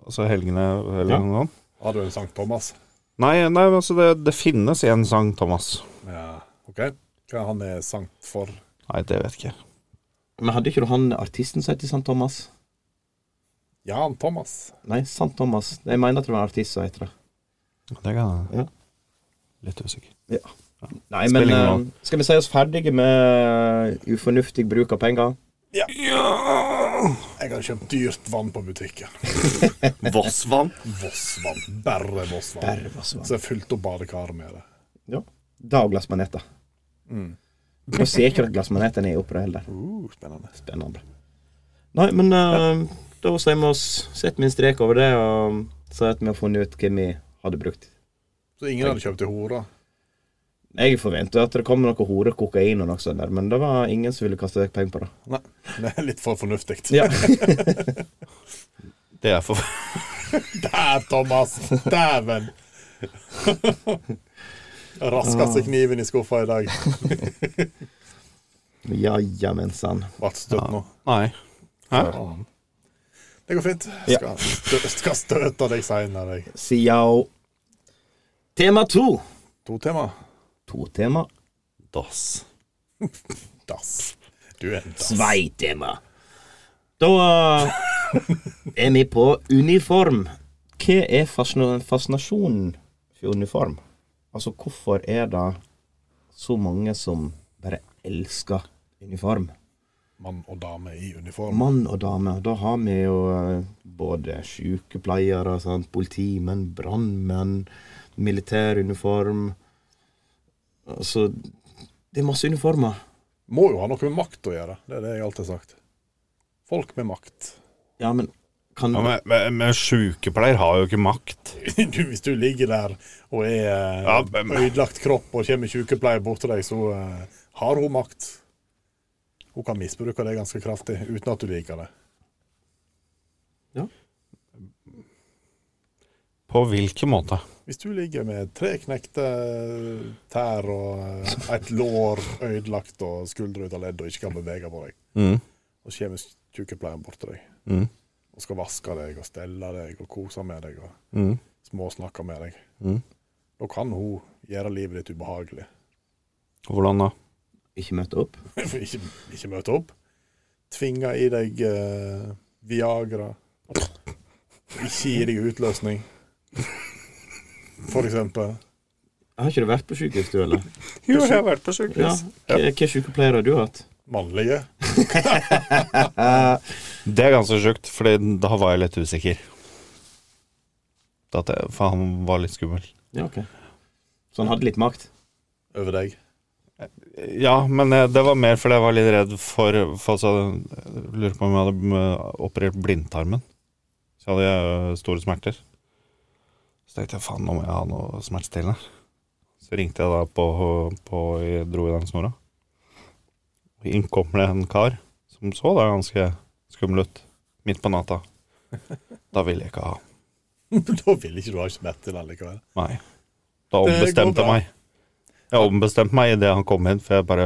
S4: Altså helgene eller
S3: Ja.
S4: noe sånt.
S5: Har du en Sankt Thomas?
S4: Nei, nei men altså det, det finnes en Sankt Thomas.
S5: Ja, OK. Hva han er sankt for?
S4: Nei, det vet jeg ikke.
S3: Men hadde ikke du han artisten som heter Sant Thomas?
S5: Jan Thomas.
S3: Nei, Sant Thomas. Jeg mener at det var en artist som heter det.
S4: Det kan jeg
S3: Ja.
S4: Litt usikker.
S3: Nei,
S4: Spiller
S3: men
S4: ingen
S3: eh,
S4: rolle.
S3: skal vi si oss ferdige med eh, ufornuftig bruk av penger?
S5: Jeg har kjøpt dyrt vann på butikken.
S4: Vossvann?
S5: Vossvann. Bare Vossvann.
S3: Bervasvann.
S5: Så jeg fylte opp badekaret med det.
S3: Ja. Da og glassmaneter. Nå ser jeg ikke at glassmanetene er oppe der heller.
S5: Uh, spennende.
S3: Spennende. Nei, men eh, da sier vi oss Setter vi en strek over det og sier at vi har funnet ut hvem vi hadde brukt.
S5: Så ingen hadde kjøpt i hora?
S3: Jeg forventer at det kommer noe hore, kokain og noe sånt, der, men det var ingen som ville kaste vekk penger på det.
S5: Nei. Det er litt for fornuftig.
S3: Ja.
S4: Det er for
S5: Der, Thomas! Dæven! Raska seg kniven i skuffa i dag.
S3: Ja, jamensan.
S5: Ble støtt nå.
S4: Nei.
S5: Det går fint.
S3: Ja.
S5: Skal, stø- skal støte deg seinere.
S3: Siao. Tema to.
S5: To tema.
S3: To tema.
S4: Dass.
S5: Dass. Du er en dass.
S3: Svei tema. Da eh, er vi på uniform. Hva er fascina- fascinasjonen for uniform? Altså, hvorfor er det så mange som bare elsker uniform?
S5: Mann og dame i uniform.
S3: Mann og dame. Da har vi jo eh, både sykepleiere, sant? politimenn, brannmenn, militæruniform Altså, det er masse uniformer.
S5: Må jo ha noe med makt å gjøre. Det er det jeg alltid har sagt. Folk med makt.
S3: Ja, men kan
S4: Ja, men, men, men sjukepleier har jo ikke makt.
S5: Du, hvis du ligger der og er eh,
S4: Ja, men-
S5: ødelagt kropp og kommer sykepleier bort til deg, så eh, har hun makt. Hun kan misbruke det ganske kraftig uten at du liker det.
S3: Ja.
S4: På hvilken måte?
S5: Hvis du ligger med tre knekte tær og eh, et lår ødelagt og skuldre ut av ledd og ikke kan bevege på deg,
S4: Mm.
S5: og kjemisk sykepleier bort til deg
S4: Mm.
S5: og skal vaske deg og stelle deg og kose med deg og
S4: Mm.
S5: småsnakke med deg,
S4: Mm.
S5: da kan hun gjøre livet ditt ubehagelig.
S4: Hvordan da?
S3: Ikke møte opp.
S5: For ikke, ikke møte opp. Tvinge i deg eh, Viagra. Ikke gi deg utløsning. For eksempel.
S3: Har ikke du vært på sykehus, du, eller?
S4: Jo, jeg har vært på
S3: Ja. Hva, hva sykepleier har du hatt?
S5: Mannlige.
S3: Eh,
S4: Det er ganske sjukt, for da var jeg litt usikker. Da at jeg, for han var litt skummel.
S3: Ja, ok. Så han hadde litt makt?
S5: Over deg.
S4: Ja, men eh, det var mer fordi jeg var litt redd for, for altså, jeg Lurer på om jeg hadde eh, operert blindtarmen. Så hadde jeg eh, store smerter. Så tenkte jeg faen, nå må jeg ha noe smertestillende. Så ringte jeg da på, på jeg dro i den snora. Og inn kommer det en kar som så da ganske skummel ut. Midt på natta. Da ville jeg ikke ha.
S5: da vil ikke du ha smertestillende likevel.
S4: Nei. Da
S5: Det går
S4: ombestemte
S5: bra.
S4: jeg meg. Jeg ombestemte meg idet han kom inn, for jeg bare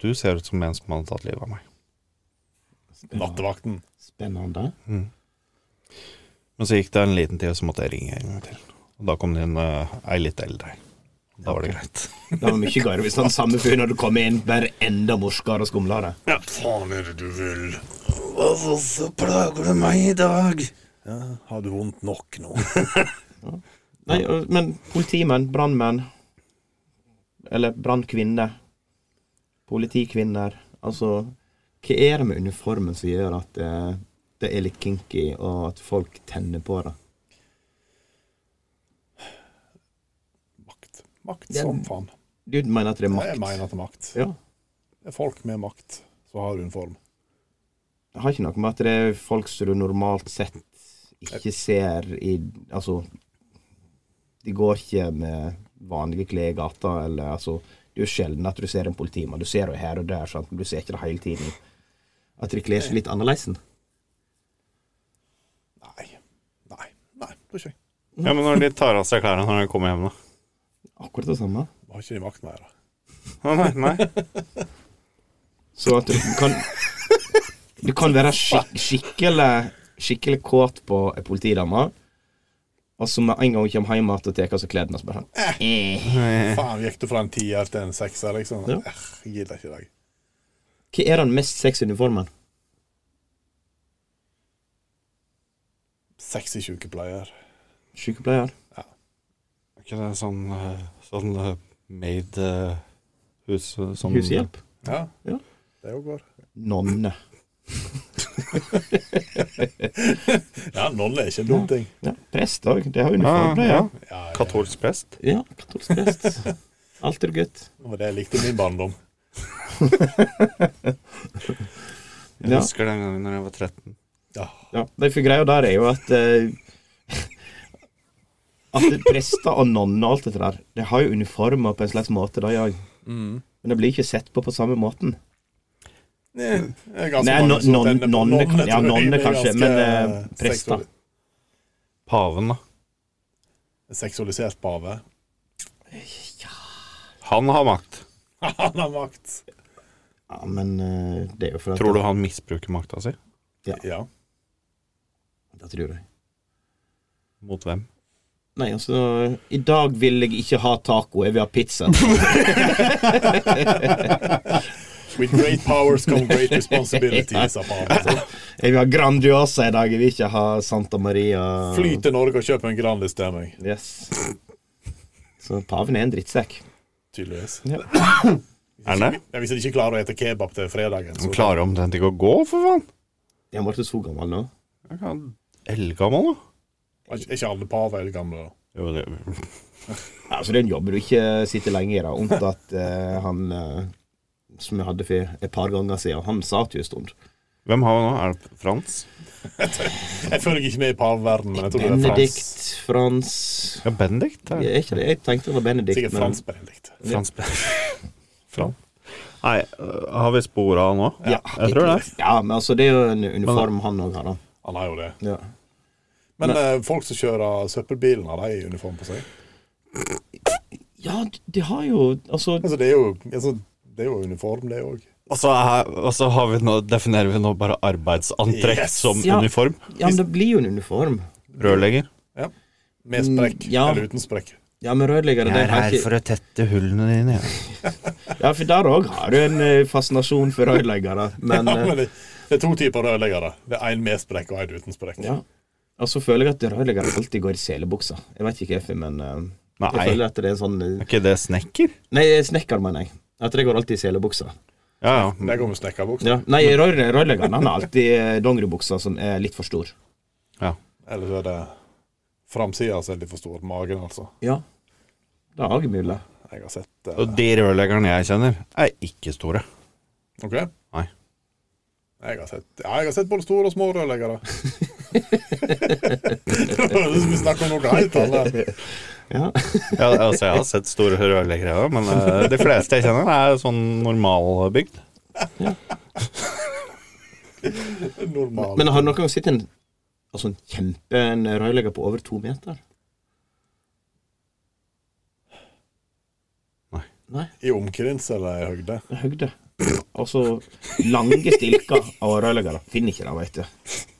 S4: Du ser ut som en som hadde tatt livet av meg.
S5: Nattevakten.
S3: Spennende.
S4: Men så gikk det en liten tid, og så måtte jeg ringe en gang til. Og da kom det inn eh, ei litt eldre. Da var det greit.
S3: Det var mye gøyere hvis den samme fyren hadde kommet inn, bare enda morskere og skumlere.
S5: Faen er det du vil?
S8: Hvorfor plager du meg i dag?
S5: Ja, har du vondt nok nå?
S3: Nei, og- men politimenn, brannmenn Eller brannkvinner. Politikvinner. Altså, hva er det med uniformen som gjør at det, det er litt kinky, og at folk tenner på det?
S5: Makt. Makt som faen.
S3: Du mener at det er makt?
S5: Jeg mener at det er makt.
S3: Ja.
S5: Det er folk med makt som har uniform.
S3: Det har ikke noe med at det er folk som du normalt sett ikke ser i Altså, de går ikke med vanlige klær i gata, eller altså Det er jo sjelden at du ser en politimann. Du ser jo her og der, sant? men du ser ikke det hele tiden. At de kler seg litt annerledes.
S5: Nei. Nei. Nei, det er ikke jeg.
S4: Ja, Men når de tar av seg klærne når de kommer hjem, da?
S3: Akkurat det samme.
S5: Har ikke de makt mer?
S4: Å, Nei, nei.
S3: Så at du kan Du kan være skik skikkelig Skikkelig kåt på ei politidame, og så med en gang hun kommer hjem igjen og tar av seg klærne, så bare sånn
S5: Faen, gikk du fra en tier til en sekser, liksom?
S3: Ja.
S5: Eh, Jeg gidder ikke i dag.
S3: Hva er den mest sexy uniformen?
S5: Sexy sykepleier.
S3: Sykepleier.
S4: Er ikke det sånn, eh, sånn eh, maid eh, hus, eh, sånn,
S3: Hushjelp.
S5: Ja.
S3: Ja.
S5: Det jo går.
S3: Nonne.
S5: Ja, nolle er ikke en dum ting.
S3: Ja, prest òg. Det har
S4: Ja,
S3: uniform.
S4: Ah, ja.
S5: Ja, ja.
S4: Katolsk prest.
S3: Ja, katolsk prest. Alt er gutt.
S5: Det var det jeg likte i min barndom.
S4: Jeg
S3: Ja.
S4: husker den gangen når jeg var 13.
S3: Ja, nei, for greia der er jo at eh, At prester og nonner og alt dette der, de har jo uniformer på en slags måte, de òg. Men det blir ikke sett på på samme måten.
S5: Nei, det er ganske
S3: Nei,
S5: mange
S3: non-
S5: som
S3: non-
S5: tenner på
S3: nonne kan-
S5: nonne,
S3: ja,
S5: tror jeg.
S3: nonne
S5: Det er
S3: kanskje,
S5: ganske
S3: men, eh, prester.
S5: seksuali-
S4: Paven, da.
S5: Seksualisert pave.
S4: Han har makt.
S5: Han har makt.
S3: Ja, men eh, det er jo for at
S4: Tror du han misbruker makta si?
S5: Ja.
S3: Det tror jeg.
S4: Mot hvem?
S3: Nei, altså I dag vil jeg ikke ha taco, jeg vil ha pizza.
S5: With great powers come great responsibility, sa paven.
S3: Jeg vil ha Grandiosa i dag, jeg vil ikke ha Santa Maria.
S5: Fly til Norge og kjøp en Grandis til meg,
S3: Yes. Så paven er en drittsekk.
S5: tydeligvis.
S3: Ja.
S4: Er han det?
S5: Ja, Hvis de ikke klarer å ete kebab til fredagen,
S4: Han
S5: så
S4: klarer omtrent ikke å gå, for faen.
S3: Jeg ble så gammel nå.
S4: Jeg er ikke eldgammel, da.
S5: er ikke alle paver er gamle. da.
S4: Jo, det,
S3: Altså, det er en jobb du ikke sitter lenge i, da. Unntatt eh, han eh, som jeg hadde for et par ganger siden. Han satt jo en stund.
S4: hvem har vi nå? Er det Frans?
S5: Jeg føler jeg ikke med i paveverdenen, men jeg tror det er Frans.
S3: Benedikt, Frans
S4: Ja, Bendik. det er-
S3: Jeg, er ikke det. jeg tenkte det var Benedikt,
S5: Sikkert Frans Benedikt.
S4: Frans. Frans. Nei, øh, har vi spor av han nå?
S3: ja,
S4: Jeg tror det.
S3: Ja, men altså, det er jo en uniform han òg har, da.
S5: Han har jo det.
S3: Ja.
S5: Men eh, folk som kjører søppelbilen, har de uniform på seg?
S3: ja, de har jo Altså,
S5: Altså, det er jo, altså, det er jo uniform, det òg.
S4: Og så, er, og så har vi nå, definerer vi nå bare arbeidsantrekk
S5: Yes.
S4: som
S3: Ja.
S4: uniform.
S3: ja, men det blir jo en uniform.
S4: Rørlegger.
S5: Med sprekk
S3: Mm, ja.
S5: eller uten sprekk.
S3: Ja, men rørleggere, det har ikke
S4: å tette hullene dine.
S3: Ja, for der òg har du en eh, fascinasjon for rørleggere, men
S5: ja,
S3: eh,
S5: men det, det er to typer rørleggere. Det er én med sprekk og én uten sprekk.
S3: Ja. Og så føler jeg at rørleggere alltid går i selebuksa. Jeg vet ikke hvorfor, men eh,
S4: Nei.
S3: jeg føler at det er en sånn eh,
S4: Er ikke det snekker?
S3: Nei, snekker, mener jeg. At de går alltid i selebuksa.
S4: Ja, ja.
S5: Der går med snekkerbukse.
S3: Ja. Nei, rør, rørleggeren han har alltid eh, dongeribuksa som er litt for stor.
S5: Eller så er det framsida som er litt for stor. Magen, altså.
S3: Ja. Det er òg mulig.
S5: Jeg har sett eh,
S4: Og de rørleggerne jeg kjenner, er ikke store.
S5: OK?
S4: Nei.
S5: Jeg har sett, ja, jeg har sett både store og små rørleggere. Det høres ut som vi snakker om noe helt annet.
S3: Ja.
S4: Ja, altså, jeg har sett store rørleggere òg, men eh, de fleste jeg kjenner, er sånn normalbygd.
S5: Normal.
S3: Men har du noen gang sett en altså en kjempe en rørlegger på over to meter?
S4: Nei.
S3: Nei,
S5: I omkrins eller i høgde?
S3: det er høgde. Altså lange stilker av rørleggere. Finner ikke det, veit du.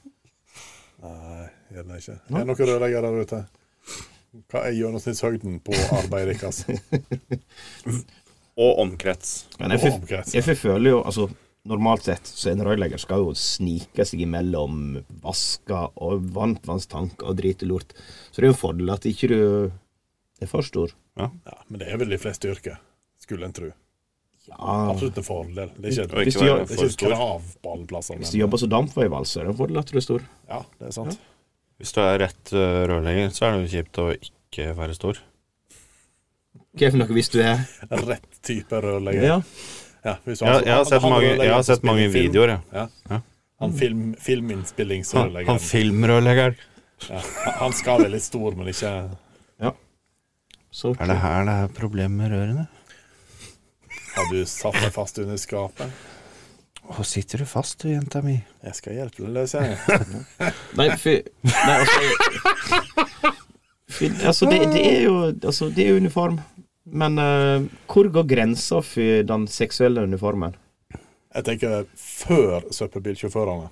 S5: Nei, gjerne ikke. Er det noen rørleggere der ute? Hva er gjennomsnittshøgden på arbeidet deres?
S4: Og omkrets.
S3: Men jeg,
S5: Og
S3: f-
S5: omkrets.
S3: jeg f- føler jo altså Normalt sett så en rørlegger skal jo snike seg imellom vasker og varmtvannstank og dritelort. Så det er jo en fordel at ikke du er for stor.
S5: Ja, men det er vel de fleste yrker, skulle en tro.
S3: Ja,
S5: Absolutt en fordel. Det er
S4: Og
S5: ikke,
S3: Hvis
S4: ikke
S3: du
S4: være
S3: gjør-
S5: det er
S4: for
S5: ikke et
S4: stor.
S5: krav på alle plasser.
S3: Hvis du jobber som dampveival, så er det en fordel at du er stor.
S5: ja, det er sant.
S4: Hvis du er rett eh, rørlegger, så er det jo kjipt å ikke være stor.
S3: Hva er for noe hvis du er
S5: Rett type rørlegger.
S3: Ja,
S5: Ja, hvis du har-
S4: Jeg, jeg har sett
S5: han
S4: mange,
S5: rørleggeren
S4: jeg har
S5: som
S4: sett mange
S5: spiller film.
S4: videoer, jeg.
S5: Han film,
S4: Han,
S5: filminnspillingsrørleggeren.
S4: han filmrørleggeren.
S5: Ja, han- han skal være litt stor, men ikke
S3: så
S4: Er det her det er problem med rørene?
S5: Har du satt deg fast under skapet?
S4: Å, sitter du fast, du, jenta mi?
S5: Jeg skal hjelpe deg løs, jeg.
S3: Nei, fy Nei, altså fy- Altså, det, det er jo altså, det er jo uniform. Men eh, hvor går grensa for den seksuelle uniformen?
S5: Jeg tenker før søppelbilsjåførene.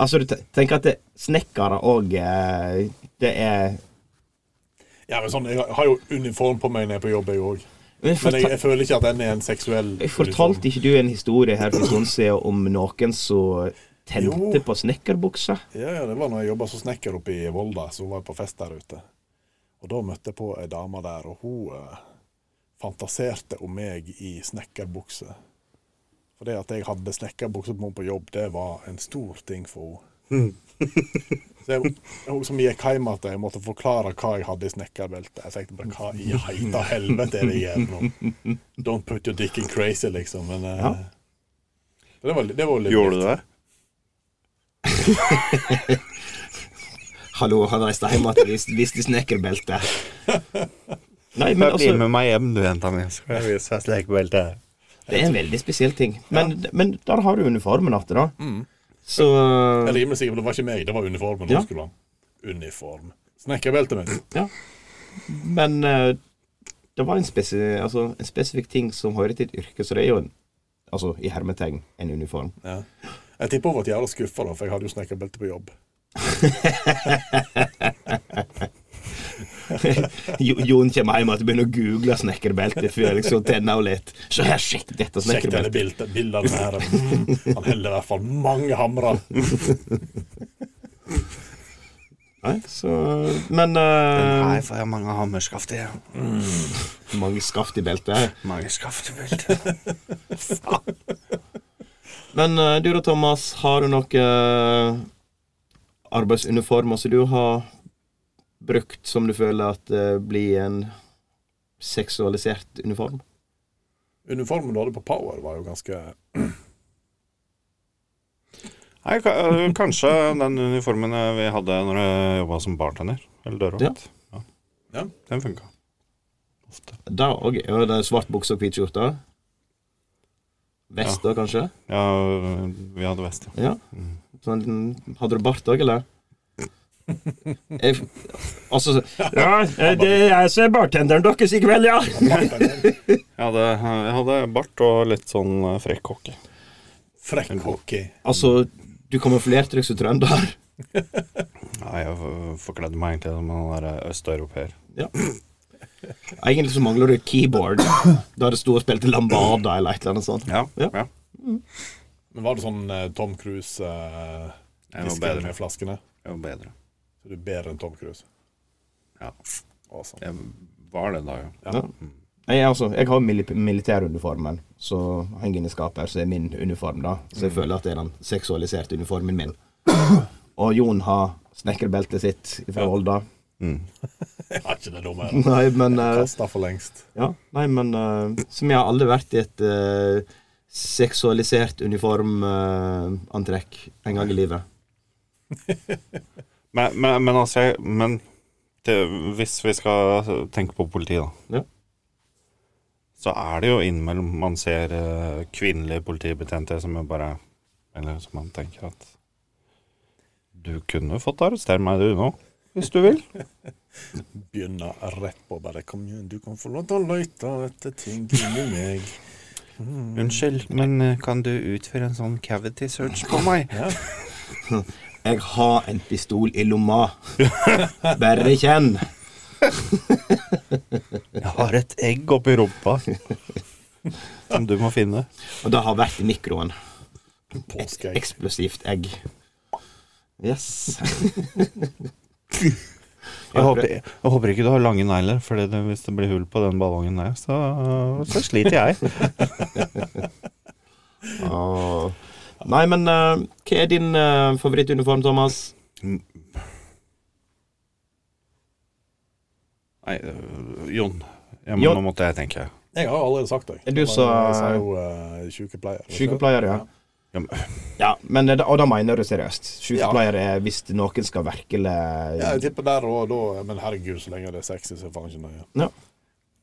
S3: Altså, du te- tenker at det snekkere òg eh, Det er
S5: Ja, men sånn, Jeg har jo uniform på meg når jeg er på jobb, jeg òg.
S3: Men
S5: Men jeg,
S3: fortal,
S5: jeg føler ikke at den er sånn. en seksuell
S3: jeg fortalte ikke du en historie her for en stund siden om noen som tente
S5: Jo.
S3: på snekkerbuksa?
S5: Ja, ja, Det var når jeg jobba som snekker oppe i Volda, så var jeg på fest der ute. Og Da møtte jeg på ei dame der, og hun eh, fantaserte om meg i snekkerbukse. For det at jeg hadde snekkerbukse på meg på jobb, det var en stor ting for henne. Så jeg, hun som gikk hjem at jeg måtte forklare hva jeg hadde i snekkerbeltet. Jeg tenkte bare hva i heita helvete er det jeg gjør nå? Don't put your dick in crazy, liksom. Men eh,
S3: Ja.
S5: det var, det var litt
S4: Gjorde du det?
S3: Hallo, han reiste hjem igjen og viste- viste snekkerbelte. Nei, men altså,
S4: med meg hjem, du, jenta mi. Skal jeg vise deg slekebeltet?
S3: det er en veldig spesiell ting. Men, men der har du uniformen igjen, da.
S5: Mm.
S3: Så
S5: Jeg er rimelig sikker på det var ikke meg, det var uniformen.
S3: Ja.
S5: hun skulle ha. Uniform. Snekkerbeltet mitt.
S3: Ja. Men eh, det var en, spesi altså, en spesifikk ting som hører til et yrke, så det er jo en Altså, i hermetegn, en uniform.
S5: Ja. Jeg tipper hun var jævla skuffa, for jeg hadde jo snekkerbelte på jobb.
S3: Jo- Jon kommer hjem og begynner å google snekkerbelte før jeg liksom tenner av litt. Så her, sjekk dette
S5: Sjekk denne
S3: snekkerbeltet.
S5: bildet, bildet av den her. Mm, Han heller i hvert fall mange hamrer.
S3: Nei, så Men
S5: Um,
S3: eh,
S4: Nei, for jeg har mange hammerskaft i.
S3: mange skaft i beltet.
S4: Mange skaft i beltet.
S3: Men eh, du da, Thomas, har du noe eh, arbeidsuniformer som du har brukt som du føler at eh, blir en seksualisert uniform?
S5: Uniformen du hadde på Power, var jo ganske
S4: Nei, ka- øh, kanskje den uniformen øh, vi hadde når jeg jobba som bartender. Eller dørvakt. Ja.
S5: Ja.
S4: Den funka. Ofte.
S3: Da òg er det svart bukse og hvit skjorte. Vest da, kanskje?
S4: Ja, vi hadde vest, ja.
S3: Ja. Sånn, hadde du bart òg, eller? Jeg, altså Ja, det er jeg som er bartenderen deres i kveld, ja!
S4: Jeg hadde, eh, jeg hadde bart og litt sånn eh, frekk hockey.
S5: Frekk hockey.
S3: Altså, du kamuflerte deg som trønder.
S4: Nei, jeg for- forkledde meg egentlig som en sånn der østeuropeer.
S3: Egentlig så mangler du et keyboard. Da det sto og spilte lambada eller et eller annet sånt.
S4: Ja,
S3: Ja.
S4: ja.
S5: Men var det sånn eh, Tom Cruise eh,
S4: Jeg var
S5: hvisker
S4: bedre.
S5: med flaskene?
S4: Jeg var bedre.
S5: Så du er bedre enn Tom Cruise?
S4: Ja.
S5: Awesome.
S4: Jeg var det da, ja.
S3: Ja. Jeg, altså, jeg har mili- militæruniformen, så henger inn i skapet her, så er min uniform, da. Så jeg føler at det er den seksualiserte uniformen min. Og Jon har snekkerbeltet sitt fra Volda.
S4: Mm.
S5: Jeg har ikke det dumme.
S3: Nei, men eh,
S5: Kasta for lengst.
S3: Ja, nei, men eh, Som jeg har aldri vært i et eh, seksualisert uniformantrekk en gang i livet.
S4: Men, men, men altså jeg, Men det, hvis vi skal tenke på politiet, da.
S3: Ja.
S4: Så er det jo innimellom man ser eh, kvinnelige politibetjenter som er bare Eller som man tenker at Du kunne fått arrestere meg, du, nå. Hvis du vil.
S5: Begynner rett på bare Kom igjen, du kan få lov til å leite etter ting inni meg.
S4: Unnskyld, men eh, kan du utføre en sånn cavity search på meg?
S3: Jeg har en pistol i lomma. Bare kjenn.
S4: Jeg har et egg oppi rumpa. Som du må finne.
S3: Og det har vært i mikroen.
S5: Påskeegg.
S3: Eksplosivt egg. Yes.
S4: Jeg håper, jeg håper ikke du har lange negler, for det- det- hvis det blir hull på den ballongen der, så, så sliter jeg.
S3: Åh. Nei, men eh, hva er din eh, favorittuniform, Thomas?
S4: Nei, øh, Jon. Jeg, må-
S3: Jon.
S4: Nå måtte jeg tenke.
S5: Jeg har jo allerede sagt det.
S3: Er du så-
S5: Jeg sa jo eh, sykepleier.
S3: Sykepleier, ja.
S4: Ja, men-
S3: Ja, men det, Og da mener du seriøst? Sykepleier er hvis noen skal virkelig
S5: Ja, jeg tipper der og da. Men herregud, så lenge det er sexy, så er faen ikke nøye.
S3: Ja.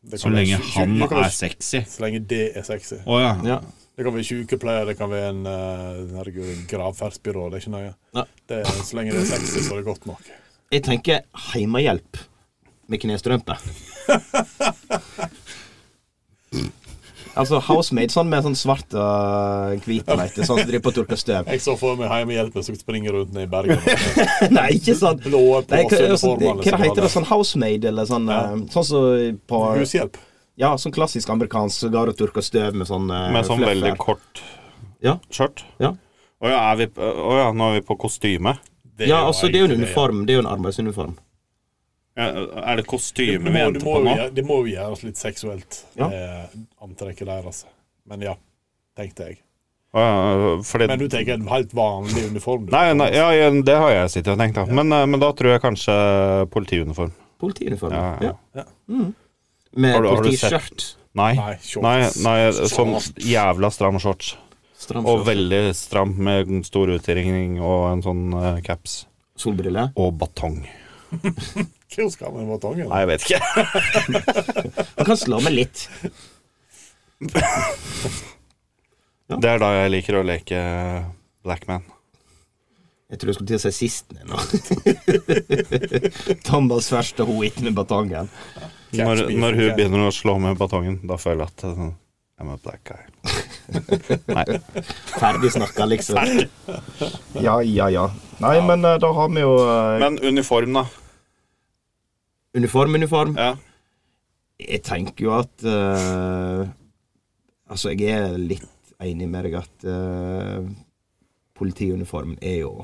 S5: Det
S9: Så
S5: kan være
S9: lenge
S5: sy-
S9: han
S5: det kan være
S9: er sexy.
S5: sy- Så lenge det er sexy.
S9: Å ja.
S3: ja.
S5: Det kan være sykepleier, det kan være en eh, herregud, en gravferdsbyrå. Det er ikke nøye.
S3: Nei.
S5: Det er, så lenge det er sexy, så er det godt nok.
S3: Jeg tenker heimehjelp med knestrømpe. altså housemaid, sånn med sånn svart og hvit leite, sånn som driver på og tørker støv.
S5: Jeg så for meg hjemmehjelpen som springer rundt ned i Bergen.
S3: Nei, ikke sånn.
S5: Blå
S3: Nei, hva,
S5: påsønne
S3: sånn hva
S4: liksom,
S3: det heter det? Sånn housemaid, eller sånn
S5: Ja.
S3: eh, Sånn som på
S5: Hushjelp.
S3: Ja, sånn klassisk amerikansk som går og tørker støv med sånn eh,
S4: Med sånn
S3: fluff
S4: veldig
S3: her.
S4: kort
S3: Ja.
S4: skjørt.
S3: Ja.
S4: Å ja, er vi, på- å ja, nå er vi på kostyme.
S5: Det
S3: Ja, altså, det er jo en
S5: egentlig
S3: uniform. Det er jo en arbeidsuniform.
S4: Ja, Er det
S5: Det
S4: kostyme
S5: må,
S4: vi
S5: det
S4: endte
S5: må,
S4: på
S5: jo
S4: nå?
S5: gjøre- det må jo gjøres litt seksuelt,
S3: Ja.
S5: det antrekket der, altså. Men ja, tenkte jeg.
S4: Å ja, fordi
S5: Men du tenker en helt vanlig uniform? Du.
S4: Nei, nei ja, ja, det har jeg sittet og tenkt, da. Men, eh, men da tror jeg kanskje politiuniform.
S3: Politiuniform. Ja,
S4: Ja, ja.
S5: Ja.
S3: Mm. Med
S4: Har du- har du sett-
S3: politiskjørt.
S4: Nei.
S5: Nei, shorts.
S4: Nei, nei sånn jævla stram shorts.
S3: Stram
S4: Og
S3: skjørt.
S4: veldig stram med stor utringning og en sånn eh, caps.
S3: Solbriller.
S4: Og batong.
S5: Hvor skal man med batongen?
S4: Nei, jeg vet ikke.
S3: Man kan slå med litt.
S4: Det er da jeg liker å leke eh, blackman.
S3: Jeg tror jeg skulle til å si sisten ennå. Thomas første hoit med batongen.
S4: Når,
S5: Catch me
S4: når
S5: if you
S4: hun
S5: can.
S4: begynner å slå med batongen, da føler jeg at eh, sånn, I'm a black guy. Nei.
S3: Ferdig snakka, liksom. Ja, ja, ja. Nei, men eh, da har vi jo eh,
S4: Men uniform, da.
S3: uniform, uniform.
S4: Ja.
S3: Jeg tenker jo at eh, Altså, jeg er litt enig med deg at eh, politiuniformen er jo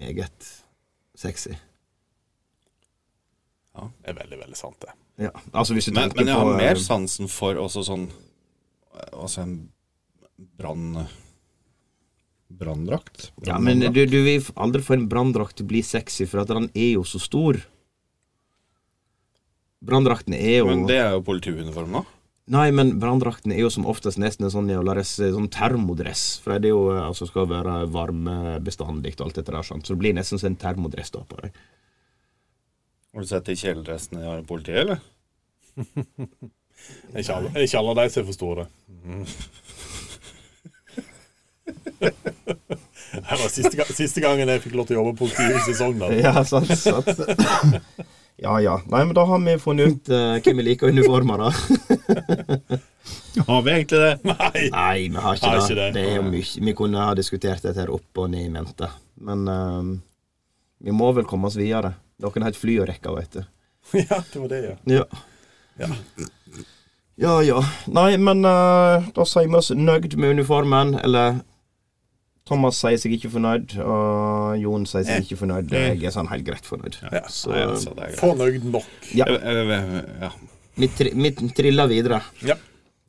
S3: meget sexy.
S5: Det er veldig, veldig sant, det.
S3: Ja, altså hvis du
S9: Men,
S3: tenker
S9: men jeg har
S4: eh,
S3: på
S9: mer sansen for også sånn Altså en brann... Branndrakt?
S3: Ja, men du, du vil aldri få en branndrakt til å bli sexy, for at den er jo så stor. Branndrakten er jo
S9: Men det er jo politiuniform, da.
S3: Nei, men branndrakten er jo som oftest nesten en sånn jævla res- sånn termodress. For det er jo eh, altså skal være varme bestandig og alt dette der, sant. Så det blir nesten som en termodress da på deg.
S9: Har du sett de kjeledressene de har i politiet, eller?
S4: Mm.
S5: Det er Ikke alle, det er ikke alle de som er for store. Det var siste, ga- siste gangen jeg fikk lov til å jobbe på politihuset i Sogndal.
S3: Ja, sant, sant. Ja ja. Nei, men da har vi funnet ut eh, hvem vi liker uniformer, da.
S6: Har vi egentlig det?
S5: Nei!
S3: Nei, vi har ikke,
S5: Har ikke
S3: det.
S5: det.
S3: det er jo mye. Vi kunne ha diskutert dette her opp og ned i mente, men eh, vi må vel komme oss videre. Dere har et fly å rekke, vet du.
S5: Ja, det var det, ja.
S3: Ja.
S5: Ja.
S3: ja ja. Nei, men eh, da sier vi oss nøyd med uniformen, eller Thomas sier seg ikke fornøyd, og Jon sier seg ikke fornøyd. Jeg er sånn helt greit fornøyd.
S5: Ja.
S3: Så
S6: Nei, altså, det er greit.
S5: Fornøyd nok.
S6: Jeg- jeg- jeg- Eh, Ja.
S3: vi, tri vi triller videre.
S5: Ja.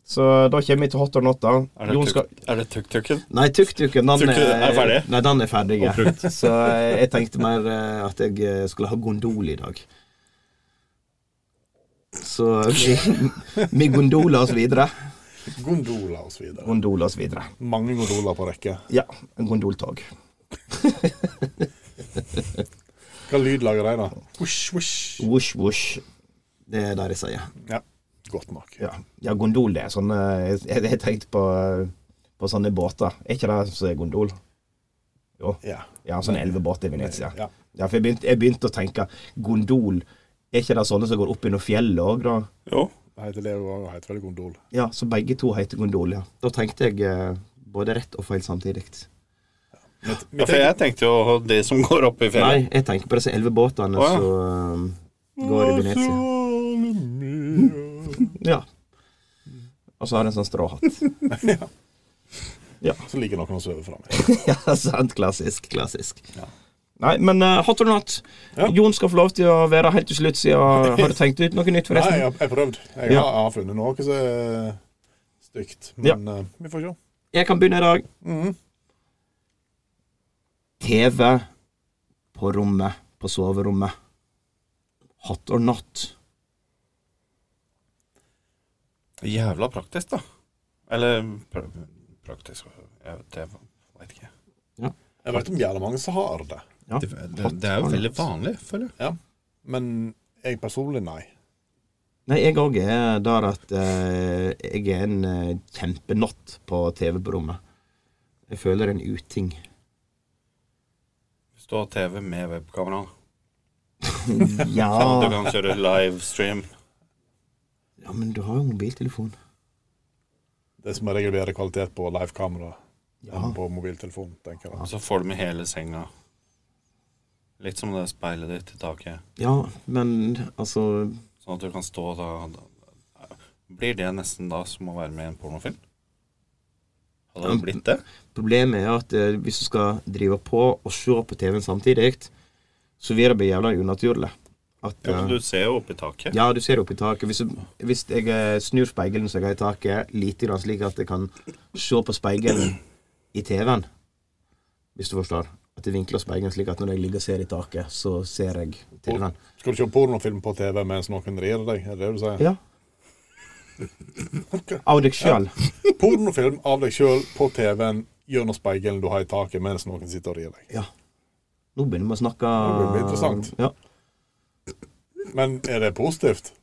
S3: Så da kommer vi til hot or not, da.
S6: Er det
S3: Jon skal
S6: tuk- Er det tuk-tuken?
S3: Nei, tuk-tuken, den
S6: Tuk-tuk er ferdig?
S3: Nei, den er ferdig. ja. Så eh, jeg tenkte mer eh, at jeg eh, skulle ha gondol i dag. Så vi, vi gondoler oss videre.
S5: Gondola og så videre.
S3: Gondoler oss videre.
S5: Mange gondoler på rekke.
S3: Ja, en gondoltog.
S5: Hva lyd lager de, da? Wish, wish.
S3: Woosh, woosh. Det er det de sier.
S5: Ja. Godt nok.
S3: Ja, ja gondol, det er sånn eh, Jeg jeg tenkte på, eh, på sånne båter. Er ikke det som er gondol?
S5: Ja.
S3: Ja, sånn elvebåt i Venezia.
S5: Ja.
S3: Ja, for jeg begynte, jeg begynte å tenke gondol. Er ikke det sånne som går opp gjennom fjellet òg, da?
S6: Jo.
S5: Det heter Leo og heter vel gondol.
S3: Ja, så begge to heter gondol, ja. Da tenkte jeg eh, både rett og feil samtidig.
S6: Ja, for jeg tenkte jo de som går opp i fjellet.
S3: Nei, jeg tenker på disse elvebåtene
S6: Å, ja.
S3: som eh, går i Venezia. Ja. Og så har jeg en sånn stråhatt.
S5: Så ligger noen og sover fra meg.
S3: ja, sant. Klassisk. Klassisk. Nei, men eh, hot or not.
S5: Ja.
S3: Jon skal få lov til å være helt til slutt, siden Har du tenkt ut noe nytt,
S5: Nei,
S3: forresten?
S5: jeg har- jeg har prøvd. Jeg har,
S3: Ja.
S5: jeg har funnet noe som er stygt. Men eh, vi får se.
S3: Jeg kan begynne i dag.
S5: Mhm.
S3: TV på rommet, på soverommet. Hot or not.
S6: Jævla praktisk, da. Eller pr praktisk jeg, vet- Det veit ikke.
S5: Jeg vet om jævla mange som har det.
S3: Ja.
S6: Det, det, det er jo veldig vanlig, føler jeg.
S5: Men jeg personlig, nei.
S3: Nei, jeg òg er der at eh, jeg er en eh, kjempenott på TV på rommet. Jeg føler en uting.
S6: Hvis du har TV med webkamera,
S3: ja.
S6: kan du kan kjøre livestream.
S3: ja, men du har jo mobiltelefon.
S5: Det som er regel bedre kvalitet på livekamera
S3: Ja.
S5: enn på mobiltelefon, tenker jeg.
S6: Og så får du med hele senga. Litt som det speilet ditt i taket.
S3: Ja, men altså
S6: Sånn at du kan stå da, da Blir det nesten da som å være med i en pornofilm? Hadde det blitt det?
S3: Problemet er at eh, hvis du skal drive på og se på TV-en samtidig, så vil det bli jævla unaturlig. At,
S6: Ja, men
S3: eh,
S6: du ser jo oppi taket.
S3: Ja, du ser opp i taket. Hvis, hvis jeg eh, snur speilen som jeg har i taket, lite grann slik at jeg kan se på speilen i TV-en, hvis du forstår. At jeg vinkler speilen slik at når jeg ligger og ser i taket, så ser jeg TV-en.
S5: Skal du se pornofilm på TV mens noen rir deg? Er det det du sier?
S3: Ja. Av deg sjøl.
S5: Pornofilm av deg sjøl på TV-en gjennom speilet du har i taket mens noen sitter og rir deg.
S3: Ja. Nå begynner vi å snakke
S5: Nå blir det interessant.
S3: Ja.
S5: Men er det positivt?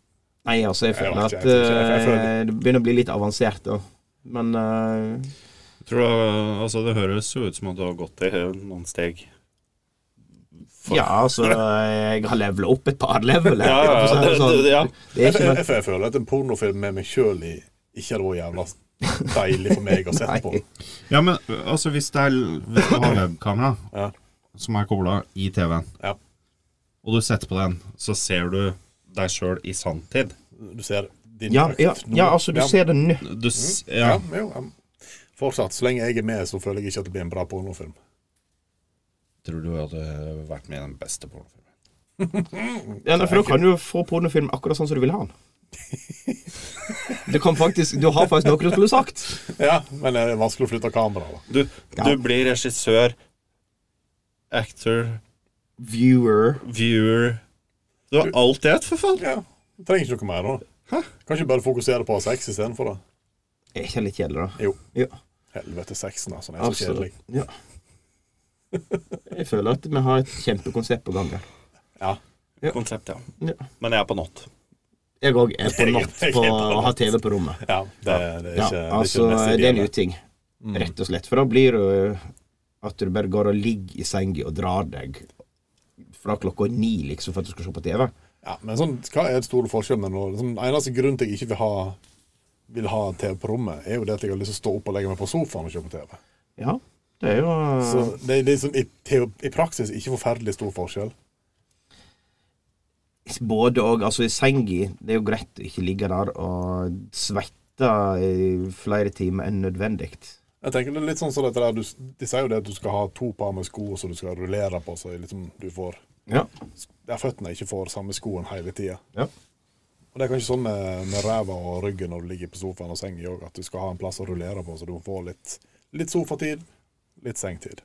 S3: Nei, altså, jeg
S5: Jeg
S3: føler
S5: vet
S3: at
S5: ikke, jeg vet ikke, jeg føler-
S3: eh, det begynner å bli litt avansert, da. Men eh,
S6: Tror du, altså, det høres jo ut som at du har gått i noen steg.
S3: Ja, altså, jeg har levela opp et par level. her,
S6: Ja, ja, ja,
S3: for å si det
S6: det- det- ja.
S3: sånn. Det er
S5: Jeg,
S3: ikke
S5: jeg,
S3: noe
S5: jeg, jeg føler at en pornofilm med meg sjøl i ikke hadde vært jævla deilig for meg å sette på.
S3: Nei.
S4: Ja, men altså, hvis, det er, hvis du har webkamera
S5: Ja.
S4: som er kobla i TV-en,
S5: Ja.
S4: og du setter på den, så ser du deg sjøl i sanntid.
S5: Du ser din
S3: Ja,
S5: økt
S3: ja,
S5: nå.
S3: ja, altså, du
S5: eh, Ja.
S3: ser det nå.
S4: Du, s-
S6: Mm.
S5: Ja,
S4: ja.
S5: jo, ja. Fortsatt, så lenge jeg er med, så føler jeg ikke at det blir en bra pornofilm.
S4: Tror du hadde vært med i den beste pornofilmen?
S3: Ja, nei, for da kan du jo få pornofilm akkurat sånn som du vil ha den. Du kan faktisk Du har faktisk noe du skulle sagt.
S5: Ja, Men det er vanskelig å flytte kameraet. da.
S6: Du,
S3: Ja.
S6: du blir regissør, actor,
S3: Viewer.
S6: viewer Du har alt i ett, for faen!
S5: Ja, du trenger ikke noe mer nå. Kan ikke bare fokusere på å ha sex istedenfor, da.
S3: Er ikke det litt kjedelig, da?
S5: Jo.
S3: Ja,
S5: Helvete, sexen, altså. Den er så
S3: altså,
S5: kjedelig.
S3: ja. Jeg føler at vi har et kjempekonsept på gang. her.
S5: Ja.
S3: Ja.
S6: Konsept, ja.
S3: Ja.
S6: Men jeg er på not.
S3: Jeg òg er på
S5: Jeg-
S3: natt
S5: jeg er
S3: på
S5: på
S3: å ha
S5: natt.
S3: TV på rommet.
S5: ja det, det er
S3: Ja,
S5: ikke, det er ikke Mm.
S3: altså,
S5: det mest
S3: det er en
S5: ideelle.
S3: uting. rett og slett. For da blir det eh, at du bare går og ligger i senga og drar deg fra klokka ni, liksom, for at du skal se på TV.
S5: Ja, men sånn, hva er den store forskjellen? nå? Sånn, eneste grunnen til at jeg ikke vil ha, vil ha TV på rommet, er jo det at jeg har lyst til å stå opp og legge meg på sofaen og se på TV.
S3: Ja, det er jo
S5: Så det er liksom i, teo- i praksis ikke forferdelig stor forskjell.
S3: Både og, altså i senga. Det er jo greit å ikke ligge der og svette i flere timer enn nødvendig.
S5: Jeg tenker det er litt sånn som dette der, du, s- De sier jo det at du skal ha to par med sko som du skal rullere på, så liksom du får
S3: Ja.
S5: Der føttene ikke får samme skoen hele tida.
S3: Ja.
S5: Og det er kanskje sånn med, med ræva og ryggen når du ligger på sofaen og sengen òg, at du skal ha en plass å rullere på, så du får litt, litt sofatid, litt sengetid.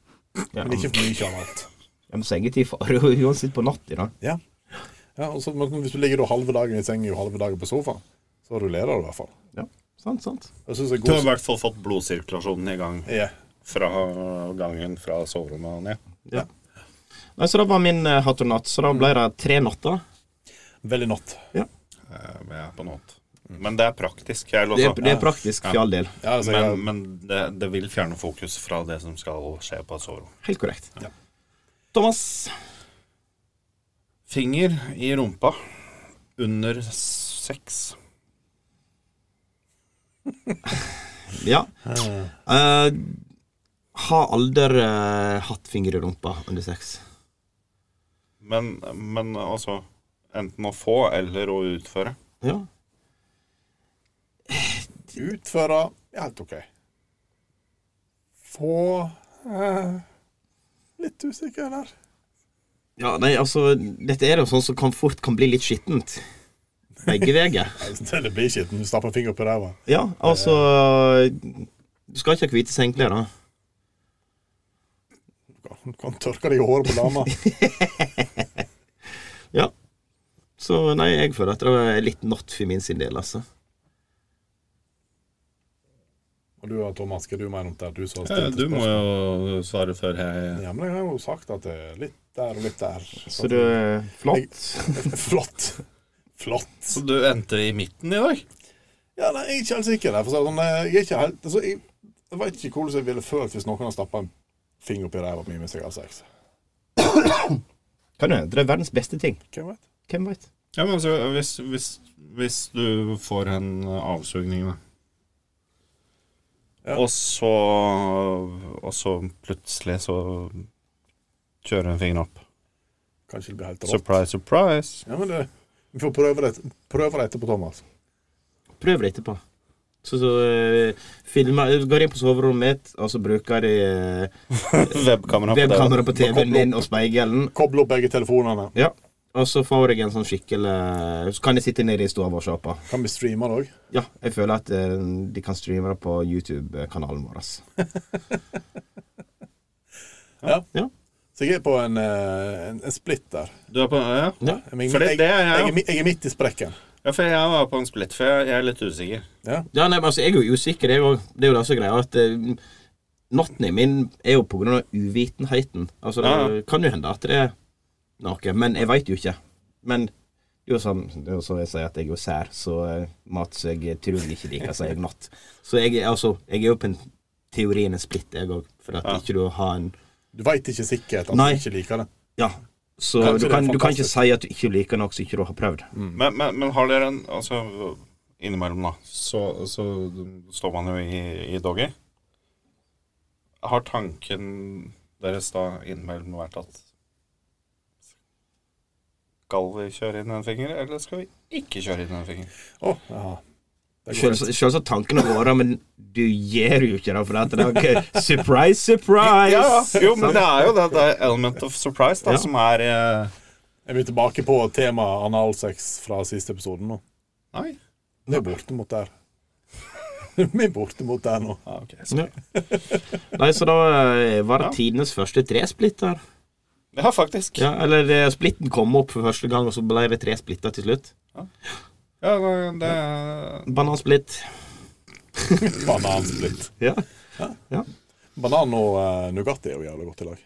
S5: Men ikke for mye av alt.
S3: Ja, men sengetid farer jo uansett på natta, da.
S5: Ja. ja og så, men hvis du ligger da halve dagen i sengen og halve dagen på sofaen, så rullerer du i hvert fall.
S3: Ja, sant, sant.
S5: Jeg synes det er
S4: Du har i
S5: god...
S4: hvert fall fått blodsirkulasjonen i gang
S5: Ja.
S4: fra gangen fra soverommet og ned.
S3: Nei, Så det var min eh, hatt og natt. Så da ble det tre natter.
S5: Veldig natt.
S4: Eh, men jeg er på nåt. Men det er praktisk. Jeg
S3: Det er,
S4: også.
S3: det er praktisk for all del.
S5: Ja, altså,
S4: Men,
S5: jeg,
S4: men det, det vil fjerne fokus fra det som skal skje på et soverom.
S3: Helt korrekt.
S5: Ja.
S3: Thomas,
S4: Finger i rumpa under sex.
S3: ja. Eh, har aldri eh, hatt finger i rumpa under sex.
S4: Men, men altså Enten å få eller å utføre.
S3: Ja.
S5: utføre ja, helt OK. Få eh, Litt usikker der.
S3: ja, nei, altså Dette er jo sånn som kan fort kan bli litt skittent. Begge veier.
S5: Altså, Det blir skitten. Du stapper en finger opp i ræva.
S3: Ja, altså Du skal ikke ha hvite sengklær, da.
S5: Du kan- Du kan tørke deg i håret på dama.
S3: Ja. Så nei, jeg føler at det er litt not for min sin del, altså.
S5: Og du Thomas, hva du mener om det? Du, som har
S4: Eh,
S5: stilt
S4: Du må
S5: spørsmål.
S4: jo svare før jeg
S5: Ja, men jeg har jo sagt at det er litt der og litt der.
S3: Så det er flott.
S5: Flott. Flott.
S4: Så du endte i midten i dag?
S5: Ja, nei, jeg er ikke helt sikker. Der, for å si det sånn, eh, jeg er ikke helt, altså, jeg, jeg vet ikke hvordan jeg ville følt hvis noen hadde stappa en finger opp i ræva mi mens jeg hadde sex.
S3: Kan du? Det er verdens beste ting.
S5: Hvem vet?
S3: Hvem veit?
S4: Ja, men altså, hvis, hvis, hvis du får en avsugning, da.
S5: Ja.
S4: Og så Og så plutselig så kjører en finger opp.
S5: Kanskje det blir helt rått.
S4: Surprise, surprise.
S5: Ja, men det, vi får prøve det, prøve det etterpå, Thomas.
S3: Prøv det etterpå. Så, så eh, filmer, går inn på soverommet mitt, og så bruker de eh,
S4: Webkamera på deg.
S3: webkamera på TV-en min og speilen.
S5: Koble opp begge telefonene.
S3: Ja. Og så får jeg en sånn skikkelig Så kan jeg sitte nede i stua og se på.
S5: Kan vi streame det òg?
S3: Ja, jeg føler at eh, de kan streame det på YouTube-kanalen vår. ass.
S5: Ja.
S3: Ja.
S5: Så jeg er på en, eh, en, en splitt der.
S4: Du er på ja.
S3: Ja.
S5: Men
S4: For det- det er jeg
S5: jeg,
S4: jo.
S5: mi- jeg er midt i sprekken.
S4: ja, for jeg var på en splitt, for jeg, jeg er litt usikker.
S5: Ja.
S3: Ja, nei, men altså, jeg er jo usikker, jeg òg. Det er jo det som er greia. at eh, Natten min er jo på grunn av uvitenheten. Altså, det
S4: Ja, ja.
S3: kan jo hende at det er noe, men jeg veit jo ikke. Men det er jo sånn det er jo så jeg sier at jeg er jo sær, så eh, mat som jeg tror jeg ikke liker, sier jeg natt. Så jeg, er- altså, jeg er jo på en teorien en splitt, jeg òg, for at ikke du har en
S5: Du veit ikke sikkert at
S3: Nei.
S5: du ikke liker det.
S3: Ja. Så
S5: Kanskje
S3: du
S5: det er
S3: kan, du kan ikke
S5: fantastisk.
S3: si at du ikke liker noe som ikke du har prøvd.
S4: Men, men, men har dere en Altså, innimellom, da, så, så står man jo i, i doggy. Har tanken deres da innimellom vært at Skal vi kjøre inn en finger, eller skal vi ikke kjøre inn en finger?
S5: Å, ja. Det går
S3: Selv- Selvsagt tanken har vært men du gjør jo ikke det. For at det er ikke Surprise, surprise!
S4: Jo, men det er jo det, det er element of surprise da,
S3: Ja.
S4: som er eh,
S5: Er vi tilbake på temaet analsex fra siste episoden nå?
S4: Nei.
S5: Vi er bortimot der. Vi er bortimot der nå.
S4: Ja, ok. Så-
S3: Ja. Nei, så da eh, var det tidenes første tresplitter.
S4: ja, faktisk.
S3: Ja, eller eh, splitten kom opp for første gang, og så ble det tre splitter til slutt.
S4: Ja, det, det
S3: Banansplitt.
S5: Banansplitt.
S3: Ja.
S5: Banan og uh, Nugatti er jo jævlig godt i lag.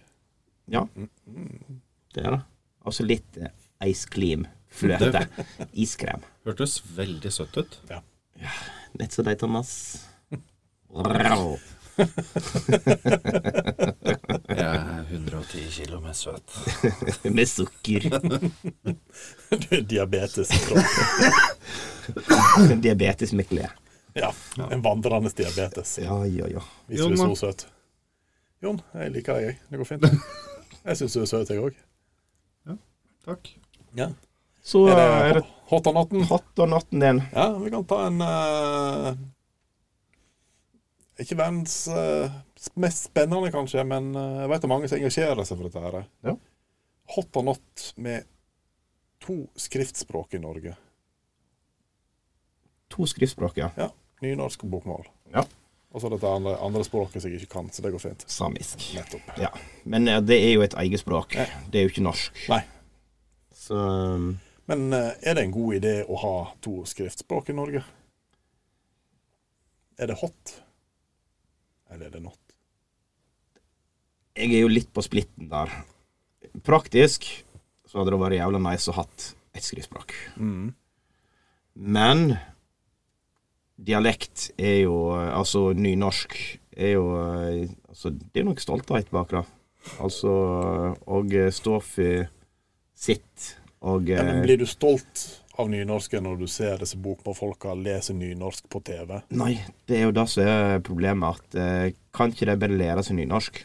S3: ja. Det er det. Og så litt eh, ice cream. Fløte. Iskrem.
S4: hørtes veldig søtt ut.
S3: Nett som deg, Thomas. Wow.
S4: Jeg er 110 kilo med søt.
S3: Med sukker.
S5: Du er diabetes. i kroppen.
S3: Diabetes med klær.
S5: Ja, en vandrende diabetes.
S3: Ja, ja, ja.
S5: Hvis du er så søt. Jon, jeg liker deg, jeg. Det går fint. Jeg syns du er søt, jeg òg.
S4: Takk.
S3: Så eh,
S5: Er
S3: er
S5: det
S3: det
S5: hot on natten?
S3: hot og natten din.
S5: Ja, vi kan ta en eh, Ikke verdens eh, mest spennende, kanskje, men eh, jeg vet det er mange som engasjerer seg for dette. her.
S3: Ja.
S5: Hot or not med to skriftspråk i Norge.
S3: To skriftspråk, ja.
S5: Ja, Nynorsk og bokmål.
S3: Ja.
S5: Og så dette andre, andre språket som jeg ikke kan, så det går fint.
S3: Samisk.
S5: Nettopp.
S3: Ja. Men eh, det er jo et eget språk. Det er jo ikke norsk.
S5: Nei.
S3: Så um,
S5: Men eh, er det en god idé å ha to skriftspråk i Norge? Er det hot? Eller er det not?
S3: jeg er jo litt på splitten der. Praktisk så hadde det vært jævla nice å hatt et skriftspråk. Mm. Men dialekt er jo eh, Altså nynorsk er jo eh, altså, Det er nok stolthet bak det. Altså å stå for sitt og
S5: Ja, men
S3: eh,
S5: blir du stolt av nynorsken når du ser disse bokmålfolka lese nynorsk på TV?
S3: Nei, det er jo det som er problemet, at eh, kan ikke de bare lære seg nynorsk?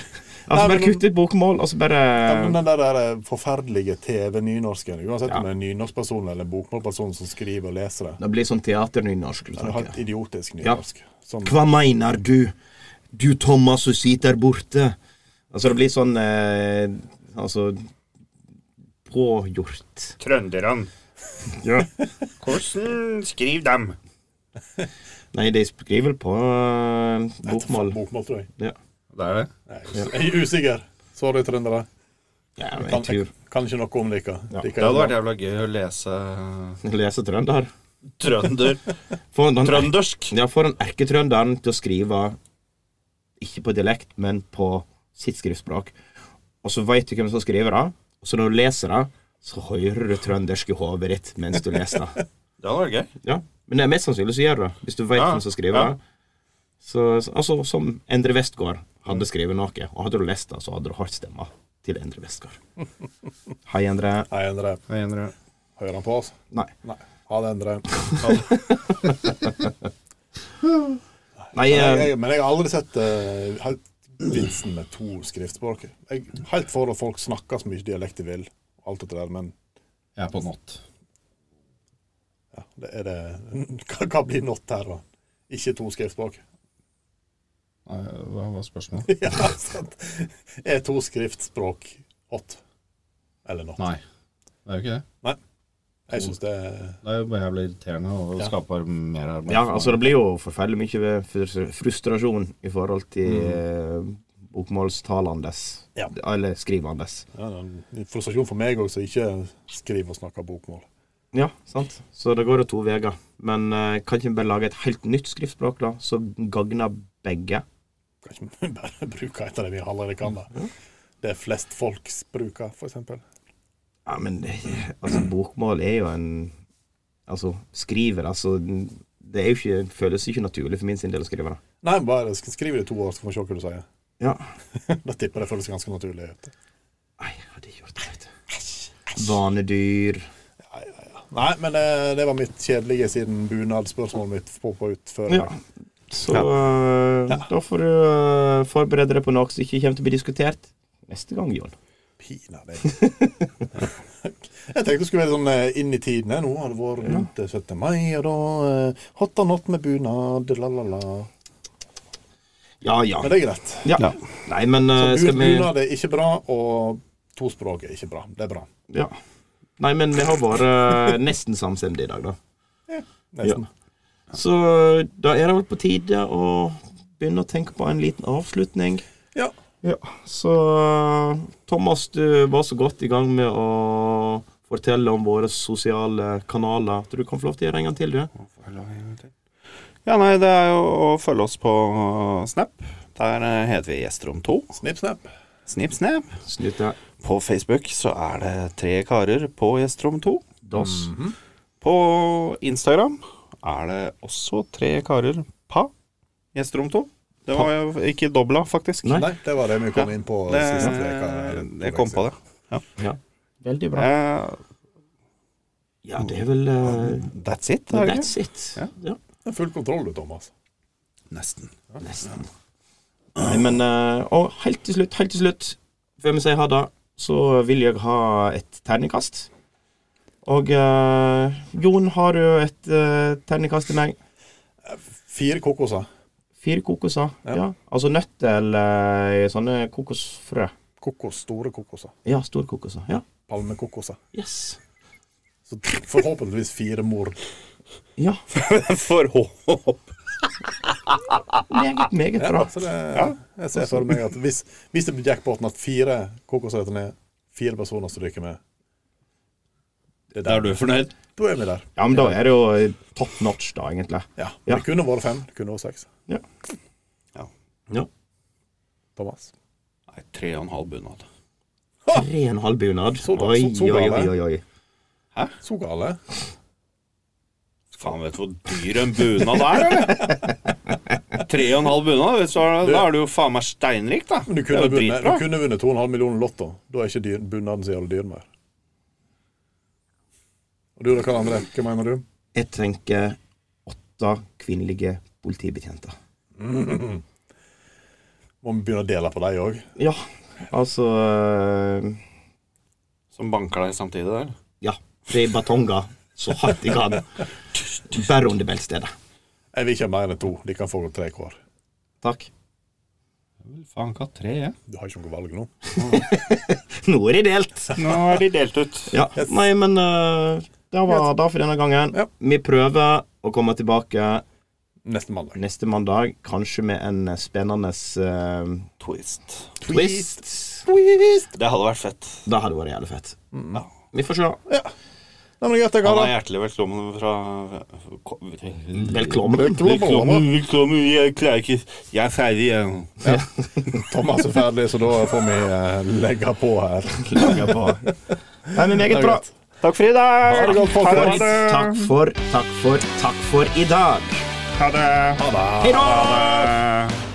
S3: Altså
S5: Nei, men-
S3: bare kutt ut bokmål, og så bare
S5: ja, men den der der forferdelige TV-nynorsken, uansett om
S3: Ja.
S5: det er en nynorskperson eller en bokmålperson som skriver og leser det,
S3: Det blir sånn teaternynorsk.
S5: det er
S3: snakker.
S5: helt idiotisk nynorsk. Sånn,
S3: Hva mener du? Du Thomas som sitter borte. Altså det blir sånn eh, Altså pågjort.
S4: Trønderne.
S3: Ja.
S4: Hvordan skriv dem?
S3: Nei, de skriver på eh, bokmål.
S5: bokmål, tror jeg.
S3: Ja.
S4: Det er det.
S5: Nei, jeg er us- jeg er usikker. Sorry, trøndere.
S3: ja, men
S5: Kan,
S3: jeg tror
S5: kan ikke noe om dere.
S3: Ja.
S5: Dere
S4: Det hadde
S5: er
S4: vært jævla gøy å lese eh,
S3: Lese trønder.
S4: trønder.
S3: Få den,
S4: Trøndersk.
S3: ja, få den erketrønderen til å skrive ikke på dialekt, men på sitt skriftspråk. Og så veit du hvem som skriver det, og så når du leser det, så hører du trøndersk i hodet ditt mens du leser det.
S4: Det hadde vært gøy.
S3: Ja, men det er mest sannsynlig så gjør du det, hvis du vet
S4: Ja,
S3: hvem som skriver
S4: ja.
S3: det. Så, altså, som Endre Westgård hadde skrevet noe, og hadde du lest det, så hadde du hørt stemma til Endre Westgård. Hei, Endre.
S5: Hei, Endre.
S4: Jeg innrømmer.
S5: Hører han på oss?
S3: Nei.
S5: Nei. Ha det, Endre.
S3: Nei,
S5: Men jeg,
S3: eh,
S5: jeg, men jeg har aldri sett eh, helt vitsen med to skriftspråk. Jeg er helt for at folk snakker så mye dialekt de vil, og alt dette der, men
S4: Jeg er på not.
S5: ja, det er det Hva, hva blir nått her, da? Ikke to skriftspråk.
S4: Nei, Hva var spørsmålet?
S5: ja, sant. Er to skriftspråk hot? Eller not?
S4: Nei. Det er jo ikke det.
S5: Jeg syns det er
S4: Det er jo bare jævlig irriterende og
S5: Ja.
S4: skaper mer arbeid.
S3: ja, altså det blir jo forferdelig mye ved frus- frustrasjon i forhold til eh, bokmålstalandes,
S5: Ja.
S3: eller skrivandes.
S5: ja, det er en frustrasjon for meg òg, som ikke skriver og snakker bokmål.
S3: Ja, sant. Så det går jo to veier. Men eh, kan ikke vi bare lage et helt nytt skriftspråk, da, som gagner begge?
S5: Kan ikke bare bruke et av det vi allerede kan. da. Det er flest folks bruker, for eksempel.
S3: Ja, men det- altså, bokmål er jo en Altså, skriver altså Det er jo ikke, føles ikke naturlig for min sin del å skrive det.
S5: Nei, bare sk- skriv det i to år, så får vi se hva du sier.
S3: Ja.
S5: Da tipper jeg det føles ganske naturlig. ut.
S3: Nei, jeg hadde ikke gjort det. vet du. Vanedyr.
S5: Nei, men eh, det var mitt kjedelige siden bunadsspørsmålet mitt poppa ut før.
S3: Ja. Så øh, da får du øh, forberede deg på noe som ikke kommer til å bli diskutert neste gang, Jon.
S5: Pina deg. jeg tenkte det skulle være sånn eh, inn i tiden. eh, Nå har det vært rundt eh, 17. mai, og da eh, hot or not med bunad, la-la-la.
S3: Ja, ja.
S5: Men det er greit.
S3: ja. Nei, men
S5: Så
S6: Eh,
S3: øh,
S5: bu-
S3: skal vi
S5: bunad er ikke bra, og tospråk er ikke bra. Det er bra.
S3: ja. Nei, men vi har vært øh, nesten samstemte i dag, da.
S5: Nesten.
S3: Så eh, da er det vel på tide å begynne å tenke på en liten avslutning.
S5: Ja.
S3: Ja, så eh, Thomas, du var så godt i gang med å fortelle om våre sosiale kanaler. Du kan få lov til å gjøre det en gang til, du.
S6: Ja, nei, det er jo å følge oss på Snap. Der eh, heter vi Gjesterom2.
S5: Snipp, snapp.
S6: Snipp, snap.
S3: Snutt deg.
S6: På Facebook så er det tre karer på Gjesterom2.
S3: Dass.
S5: Mhm.
S6: På Instagram er det også tre karer pa. Gjesterom to. Det var jo ikke dobla, faktisk.
S3: Nei.
S5: Nei, det var det vi kom inn på
S6: Det,
S5: sist veka, eller
S6: jeg kom på det.
S3: Veldig bra.
S6: Eh,
S3: Ja, det er vel eh,
S6: that's it, er det ikke?
S3: That's it.
S6: Ja.
S3: Ja.
S5: Det er Full kontroll, du, Thomas.
S1: Nesten.
S3: Nesten. Nei, men eh, Og helt til slutt, helt til slutt, før vi sier ha det, så vil jeg ha et terningkast. Og eh, Jon, har du et eh, terningkast til meg?
S5: Fire kokoser.
S3: Fire kokoser.
S5: Ja.
S3: Ja. Altså nøtter eller eh, sånne kokosfrø.
S5: Kokos, store kokoser.
S3: Ja, storkokoser. Ja.
S5: Palmekokoser.
S3: Yes.
S5: Så forhåpentligvis fire mord.
S3: Ja. Meget, meget bra.
S5: Så det, jeg ser for meg at hvis, hvis det blir jackpoten at fire kokoser heter ned, fire personer som ryker med det
S4: Da er du fornøyd?
S5: Da er vi der.
S3: Ja, men da er det jo top notch, da, egentlig.
S5: Ja.
S3: Ja.
S5: Det kunne vært fem, det kunne vært seks.
S3: Ja. Ja.
S5: Thomas.
S4: Nei, tre og en halv bunad.
S3: Tre og en halv bunad.
S5: Så da-
S3: Oi,
S5: så- så
S3: oi,
S5: bra,
S3: oi,
S5: det.
S3: oi, oi.
S5: Så gale.
S4: Faen, vet du hvor dyr en bunad er, eller? Tre og en halv bunad, så er det- da er du jo faen meg steinrik, da.
S5: Men du
S4: det
S5: kunne,
S4: er jo
S5: vunnet, du
S4: dritbra.
S5: kunne vunnet 2,5 millioner lotto. Da er ikke dyr- bunaden så jævlig dyr mer. Og du da, Karl André, hva mener du?
S3: Jeg tenker åtte kvinnelige politibetjenter.
S5: Må vi begynne å dele på deg òg?
S3: Ja, altså øh,
S4: Som banker deg samtidig der.
S3: Ja, det er batonger så hardt jeg kan. Bare under beltestedet.
S5: Jeg vil ikke ha mer enn to. De kan få tre hver.
S3: Takk.
S4: Vel, Faen, hva tre er?
S5: Du har ikke noe valg nå.
S3: Nå er de delt.
S4: Nå er de delt ut.
S3: Ja, Nei, men øh, det var det for denne gangen.
S5: Ja.
S3: Vi prøver å komme tilbake
S5: Neste mandag.
S3: neste mandag, kanskje med en spennende øh,
S4: Twist.
S3: twist.
S4: Det hadde vært fett.
S3: Det hadde vært jævlig fett. Vi får se.
S5: Nei, men greit, det,
S4: Han
S5: karer.
S4: er hjertelig velkommen fra Ko-
S3: Velkommen.
S4: Velkommen, velkommen. Jeg klarer ikke Jeg er ferdig, jeg.
S5: Thomas er ferdig, så da får vi eh, legge på her.
S3: Klager på. Nei, men meget bra.
S6: Takk for i dag!
S5: Ha det godt, folk.
S3: for, takk for, takk for, takk for i dag.
S6: Ha det!
S3: Hei da!
S6: Ha det.